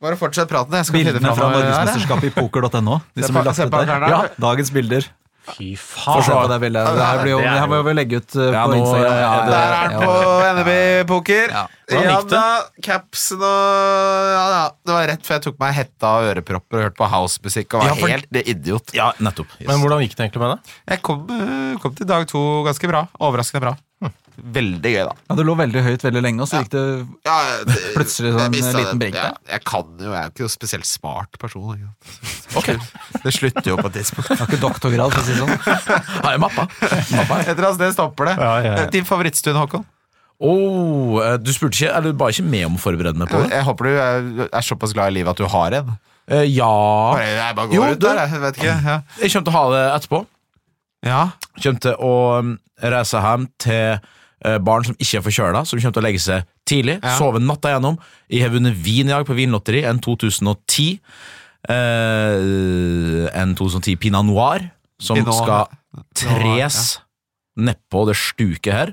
Speaker 2: Bare fortsett praten. Jeg skal finne
Speaker 3: Bildene
Speaker 2: fram
Speaker 3: fra
Speaker 2: noe her, jeg.
Speaker 3: norgesmesterskapet i poker.no. De
Speaker 2: Se
Speaker 3: som
Speaker 2: på-
Speaker 3: blir lagt
Speaker 2: se
Speaker 3: ut
Speaker 2: på
Speaker 3: der.
Speaker 2: her, da.
Speaker 3: Ja, dagens bilder.
Speaker 4: Fy
Speaker 3: Få
Speaker 4: faen.
Speaker 3: se på det bildet. Det her blir jo,
Speaker 4: det er
Speaker 3: det her må
Speaker 4: jo-
Speaker 3: vi legge ut eh,
Speaker 5: Ja,
Speaker 3: på
Speaker 5: nå,
Speaker 3: Instagram.
Speaker 5: ja,
Speaker 3: det-
Speaker 2: Der er den på NB Poker. Ja,
Speaker 4: Hvordan gikk det?
Speaker 2: da, capsen og ja, da. Det var rett før jeg tok meg hetta og ørepropper og hørte på housemusikk og var
Speaker 5: Ja, for-
Speaker 2: helt idiot.
Speaker 5: Ja, nettopp. Yes.
Speaker 4: Men hvordan gikk det egentlig med det?
Speaker 2: Jeg kom, eh, kom til dag to ganske bra. Overraskende bra. Hm. Veldig gøy, da.
Speaker 3: Ja, det lå veldig høyt veldig lenge, og så gikk det
Speaker 2: Ja, det,
Speaker 3: Plutselig sånn
Speaker 2: jeg mistet
Speaker 3: liten
Speaker 2: det.
Speaker 3: brink
Speaker 2: Ja, jeg kan jo, jeg er jo ikke noe spesielt smart person. Ikke? sant? Det slutter jo på et tidspunkt.
Speaker 3: Det var ikke doktorgrad, for å si det sånn.
Speaker 5: Har jeg mappa? mappa.
Speaker 2: Et eller annet sted stopper det.
Speaker 4: Ja, ja, ja.
Speaker 2: Din favorittstund, Håkon?
Speaker 5: Oh, eh, du spurte ikke, eller du ba ikke med om å forberede meg på det?
Speaker 2: Jeg håper du er, er såpass glad i livet at du har en.
Speaker 5: Eh, Ja
Speaker 2: Bare, jeg bare går
Speaker 5: Jo,
Speaker 2: ut
Speaker 5: du-
Speaker 2: der, jeg vet ikke. Ja.
Speaker 5: Jeg kommer til å ha det etterpå.
Speaker 2: ja.
Speaker 5: Kommer til å um, reise hjem til eh, barn som ikke er forkjøla, som kommer til å legge seg tidlig,
Speaker 2: Ja.
Speaker 5: sove natta gjennom. Jeg har vunnet vin i dag på vinlotteri, en 2010. eh, en 2010 Pinot Noir, som
Speaker 2: Pinot-
Speaker 5: skal tres nedpå det stuket her.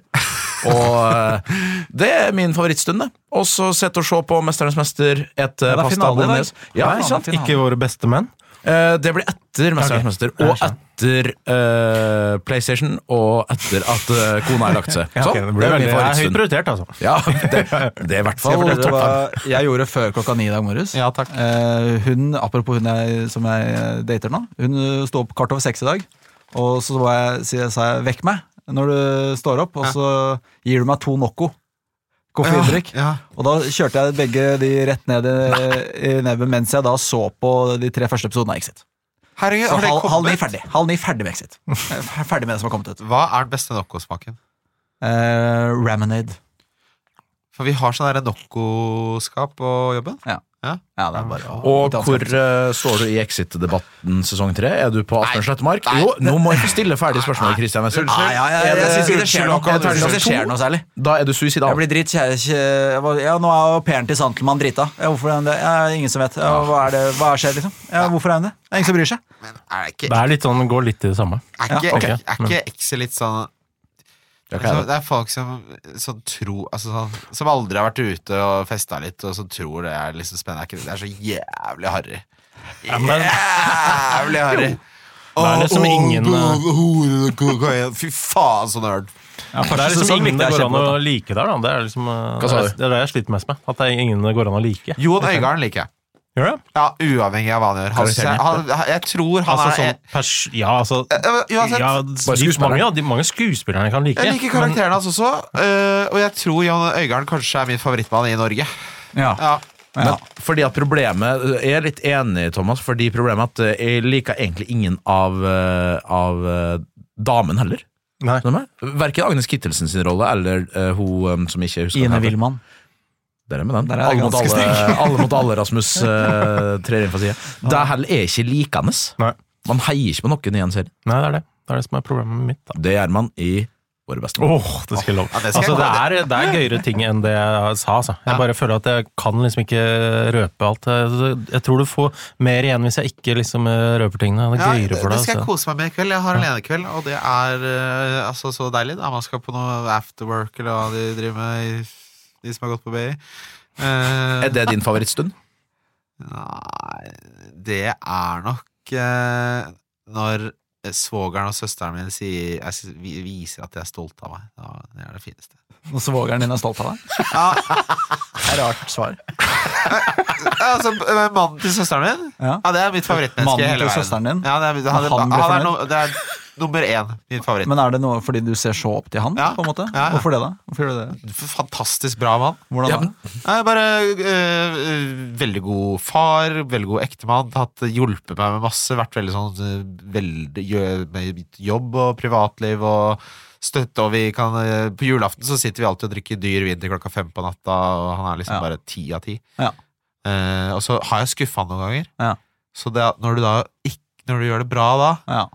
Speaker 5: Og eh, det er min favorittstund, det. Og så sitte og se på Mesternes mester, et
Speaker 3: er
Speaker 5: pasta
Speaker 3: finale i dag.
Speaker 5: bolognese. Ja,
Speaker 3: Ja,
Speaker 5: ikke sant?
Speaker 3: finale.
Speaker 4: Ikke våre beste menn?
Speaker 5: Eh, det blir etter Mesternes
Speaker 4: Ok.
Speaker 5: mester, og etter eh, PlayStation, og etter at eh, kona har lagt seg. Sånn.
Speaker 4: Ok, det,
Speaker 5: det
Speaker 4: blir
Speaker 5: er min
Speaker 4: veldig, det er høyt
Speaker 5: favorittstund.
Speaker 4: prioritert, altså.
Speaker 5: Ja, det, det er i hvert
Speaker 3: Skal jeg
Speaker 5: fall
Speaker 3: fortelle
Speaker 5: topp
Speaker 3: hva
Speaker 5: fem.
Speaker 3: jeg gjorde før klokka ni i dag morges?
Speaker 2: Ja, takk.
Speaker 3: Eh, hun, apropos hun jeg, som jeg eh, dater nå, hun eh, sto opp kvart over seks i dag. Og så var jeg, si- sa jeg 'vekk meg' når du står opp, og så gir du meg to Nocco. Koffeindrikk.
Speaker 2: Ja,
Speaker 3: Og da kjørte jeg begge de rett ned i, i nebbet mens jeg da så på de tre første episodene av Exit.
Speaker 2: Herregud,
Speaker 3: Så
Speaker 2: har det
Speaker 3: halv, halv ni
Speaker 2: kommet?
Speaker 3: ferdig Halv ni ferdig med Exit. Jeg er Ferdig med det som har kommet ut.
Speaker 2: Hva er den beste Nocco-smaken?
Speaker 3: Eh, Ramonade.
Speaker 2: For vi har sånn der Nocco-skap på jobben.
Speaker 3: Ja, det er bare å-
Speaker 5: Og
Speaker 3: danske.
Speaker 5: hvor eh, står du i Exit-debatten sesong tre? Er du på Asbjørn Slettmark? Jo, nå må jeg få stille ferdig spørsmålet, Christian Wessel.
Speaker 3: Nei, ja, jeg, jeg, jeg, syns ikke det skjer noe. Jeg tror ikke det skjer noe særlig.
Speaker 5: Da er du suicidal.
Speaker 3: Jeg blir dritt kjære, kjæ- jeg var- Ja, nå er au pairen til Santelmann drita. Ja, hvorfor er han det? Ja, ingen som vet. Ja, hva er det? Hva skjer, liksom? Ja, hvorfor er han det? Det er ingen som bryr seg.
Speaker 2: Men er det ikke
Speaker 4: Det er litt sånn, går litt i det samme.
Speaker 2: Er ikke,
Speaker 3: Ja,
Speaker 4: ok. Mm.
Speaker 2: er ikke Excel litt sånn det er, sånn- det er folk som, som tror altså sånn, Som aldri har vært ute og festa litt, og som tror det er liksom spennende. Er ikke det? det er så jævlig harry.
Speaker 4: men-
Speaker 2: Jævlig harry.
Speaker 4: Det er liksom ingen, eh,
Speaker 2: Fy faen, så nerd.
Speaker 4: Det er liksom ingen det går an å like der, da. Det er liksom eh,
Speaker 5: Hva sa du?
Speaker 4: Det er det jeg sliter mest med. At det er ingen det går an å like.
Speaker 2: Jon Øigarden liker jeg.
Speaker 4: Gjør det?
Speaker 2: Ja, Uavhengig av hva han gjør. Han,
Speaker 5: Karakteren.
Speaker 2: han, han, jeg tror han
Speaker 4: Altså
Speaker 2: er
Speaker 4: sånn pers... Ja, altså
Speaker 2: Ja, Uansett.
Speaker 4: ja, de,
Speaker 5: skuespillerne.
Speaker 4: mange, ja, de mange skuespillerne kan like.
Speaker 2: Jeg liker karakteren hans også, eh, og jeg tror Jon Øigarden kanskje er min favorittmann i Norge.
Speaker 3: Ja.
Speaker 2: Ja
Speaker 3: ja.
Speaker 5: Fordi at problemet eh, Jeg er litt enig, Thomas, fordi problemet er at eh, jeg liker egentlig ingen av, eh, av eh, damen heller.
Speaker 4: Nei.
Speaker 5: Skjønner du meg? Verken Agnes Kittelsen sin rolle eller eh, hun eh, som ikke husker
Speaker 3: Ine
Speaker 5: hva hun heter.
Speaker 3: Wilman.
Speaker 5: Der er med den.
Speaker 3: Der er jeg
Speaker 5: alle, mot
Speaker 3: ganske
Speaker 5: alle, alle mot alle, Rasmus eh, trer inn fra sida. Det heller er ikke likende.
Speaker 4: Nei.
Speaker 5: Man heier ikke på noen i en serie.
Speaker 4: Nei, det er det. Det er det som er problemet mitt, da.
Speaker 5: Det gjør man i Våre beste
Speaker 4: Åh, det skal jeg love.
Speaker 2: Ja, det skal jeg
Speaker 4: altså, det,
Speaker 2: love.
Speaker 4: er, det er gøyere ting enn det jeg sa. Altså. Jeg
Speaker 2: Ja.
Speaker 4: bare føler at jeg kan liksom ikke røpe alt. Jeg- Jeg tror du får mer igjen hvis jeg ikke liksom eh, røper tingene. Det
Speaker 2: Ja,
Speaker 4: er gøyere
Speaker 2: det,
Speaker 4: for
Speaker 2: det
Speaker 4: deg.
Speaker 2: skal jeg
Speaker 4: Altså.
Speaker 2: kose meg med i kveld. Jeg har alenekveld, og det er eh, altså så deilig. Da. Man skal på noe afterwork eller hva de driver med, i- de som har gått på BI. Eh,
Speaker 5: Er det din favorittstund?
Speaker 2: Nei, det er nok eh, når eh, svogeren og søsteren min sier, jeg, sy- vi- viser at de er stolte av meg. Da- Det er det fineste.
Speaker 3: Og svogeren din er stolt av deg? Det er Rart svar.
Speaker 2: Altså, eh, mannen til søsteren min?
Speaker 3: Ja.
Speaker 2: Ja, det er mitt favorittmenneske
Speaker 3: Mannen
Speaker 2: i hele
Speaker 3: til
Speaker 2: verden.
Speaker 3: søsteren din?
Speaker 2: Ja, det er, han,
Speaker 3: Når han
Speaker 2: han,
Speaker 3: blir
Speaker 2: er,
Speaker 3: fornøyd?
Speaker 2: no, det er nummer én, min favoritt.
Speaker 3: Men er det noe fordi du ser så opp til han?
Speaker 2: Ja.
Speaker 3: på en måte?
Speaker 2: Ja, ja.
Speaker 3: Hvorfor det, da? Hvorfor gjør du det?
Speaker 2: Fantastisk bra mann.
Speaker 3: Hvordan da?
Speaker 2: Nei, bare øh, øh, veldig god far, veldig god ektemann. Hatt hjulpet meg med masse. Vært veldig sånn øh, veldig, gjø- med jobb og privatliv og støtte. Og vi kan øh, På julaften så sitter vi alltid og drikker dyr vin til klokka fem på natta, og han er liksom
Speaker 3: Ja.
Speaker 2: bare ti av ti.
Speaker 3: Ja.
Speaker 2: Eh, og så har jeg skuffa han noen ganger.
Speaker 3: Ja.
Speaker 2: Så det, at når du da ikk- Når du gjør det bra da,
Speaker 3: Ja.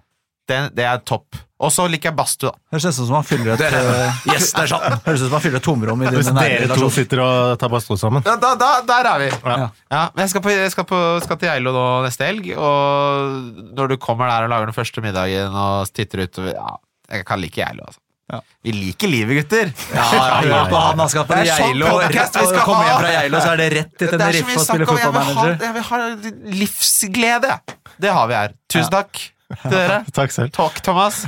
Speaker 2: det, det er topp. Og så liker jeg badstue, da.
Speaker 3: Høres nesten ut som han fyller et eh,
Speaker 5: Yes, der satt den!
Speaker 3: Høres ut som han fyller et tomrom i
Speaker 4: Hvis
Speaker 3: dine nære
Speaker 4: dere to
Speaker 3: relasjoner.
Speaker 4: sitter og tar badstue sammen.
Speaker 2: Ja, da, da, der er vi.
Speaker 4: Ja.
Speaker 2: Ja. men jeg skal, på, jeg skal, på, skal til Geilo nå neste helg, og når du kommer der og lager den første middagen og titter utover Ja, jeg kan like Geilo, altså.
Speaker 3: Ja.
Speaker 2: Vi liker livet, gutter!
Speaker 3: Ja, ja, hør på han, han skal på
Speaker 2: Det er sånn
Speaker 3: Geilo.
Speaker 2: podcast vi
Speaker 3: og
Speaker 2: skal
Speaker 3: Kommer hjem
Speaker 2: ha.
Speaker 3: fra Geilo, så er det rett til
Speaker 2: Det er så
Speaker 3: Tenerife
Speaker 2: mye
Speaker 3: og spille
Speaker 2: snakk om jeg vil, ha,
Speaker 3: fotballmanager.
Speaker 2: jeg vil ha livsglede! Det har vi her. Tusen takk til dere.
Speaker 4: Takk selv.
Speaker 2: Takk, Thomas.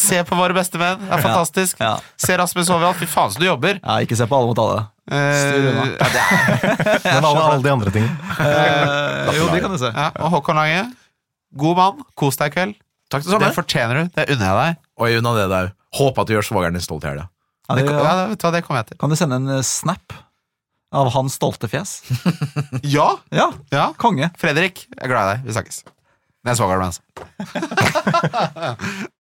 Speaker 2: Se på våre beste menn. Det er fantastisk.
Speaker 3: Ja.
Speaker 2: Se Rasmus overalt. Fy faen, så du jobber.
Speaker 3: Ja, ikke se på alle mot alle. Styr
Speaker 2: Eh,
Speaker 3: unna.
Speaker 2: ja, det er,
Speaker 4: Men alle, alle de andre tingene.
Speaker 3: Eh, jo, det kan du se.
Speaker 2: ja. Og Håkon Lange, god mann. Kos deg i kveld.
Speaker 5: Takk det
Speaker 2: Det
Speaker 5: samme.
Speaker 2: fortjener du. Det unner jeg deg.
Speaker 5: Og jeg unna det der. Håper at du gjør svogeren din stolt i helga.
Speaker 3: Ja,
Speaker 2: Det,
Speaker 3: det,
Speaker 2: ja, det, vet du hva, det kommer jeg til.
Speaker 3: Kan du sende en eh, snap av hans stolte fjes?
Speaker 2: Ja,
Speaker 3: Ja,
Speaker 2: ja.
Speaker 3: konge.
Speaker 2: Fredrik, jeg er glad i deg. Vi snakkes. Det er svogeren min. altså.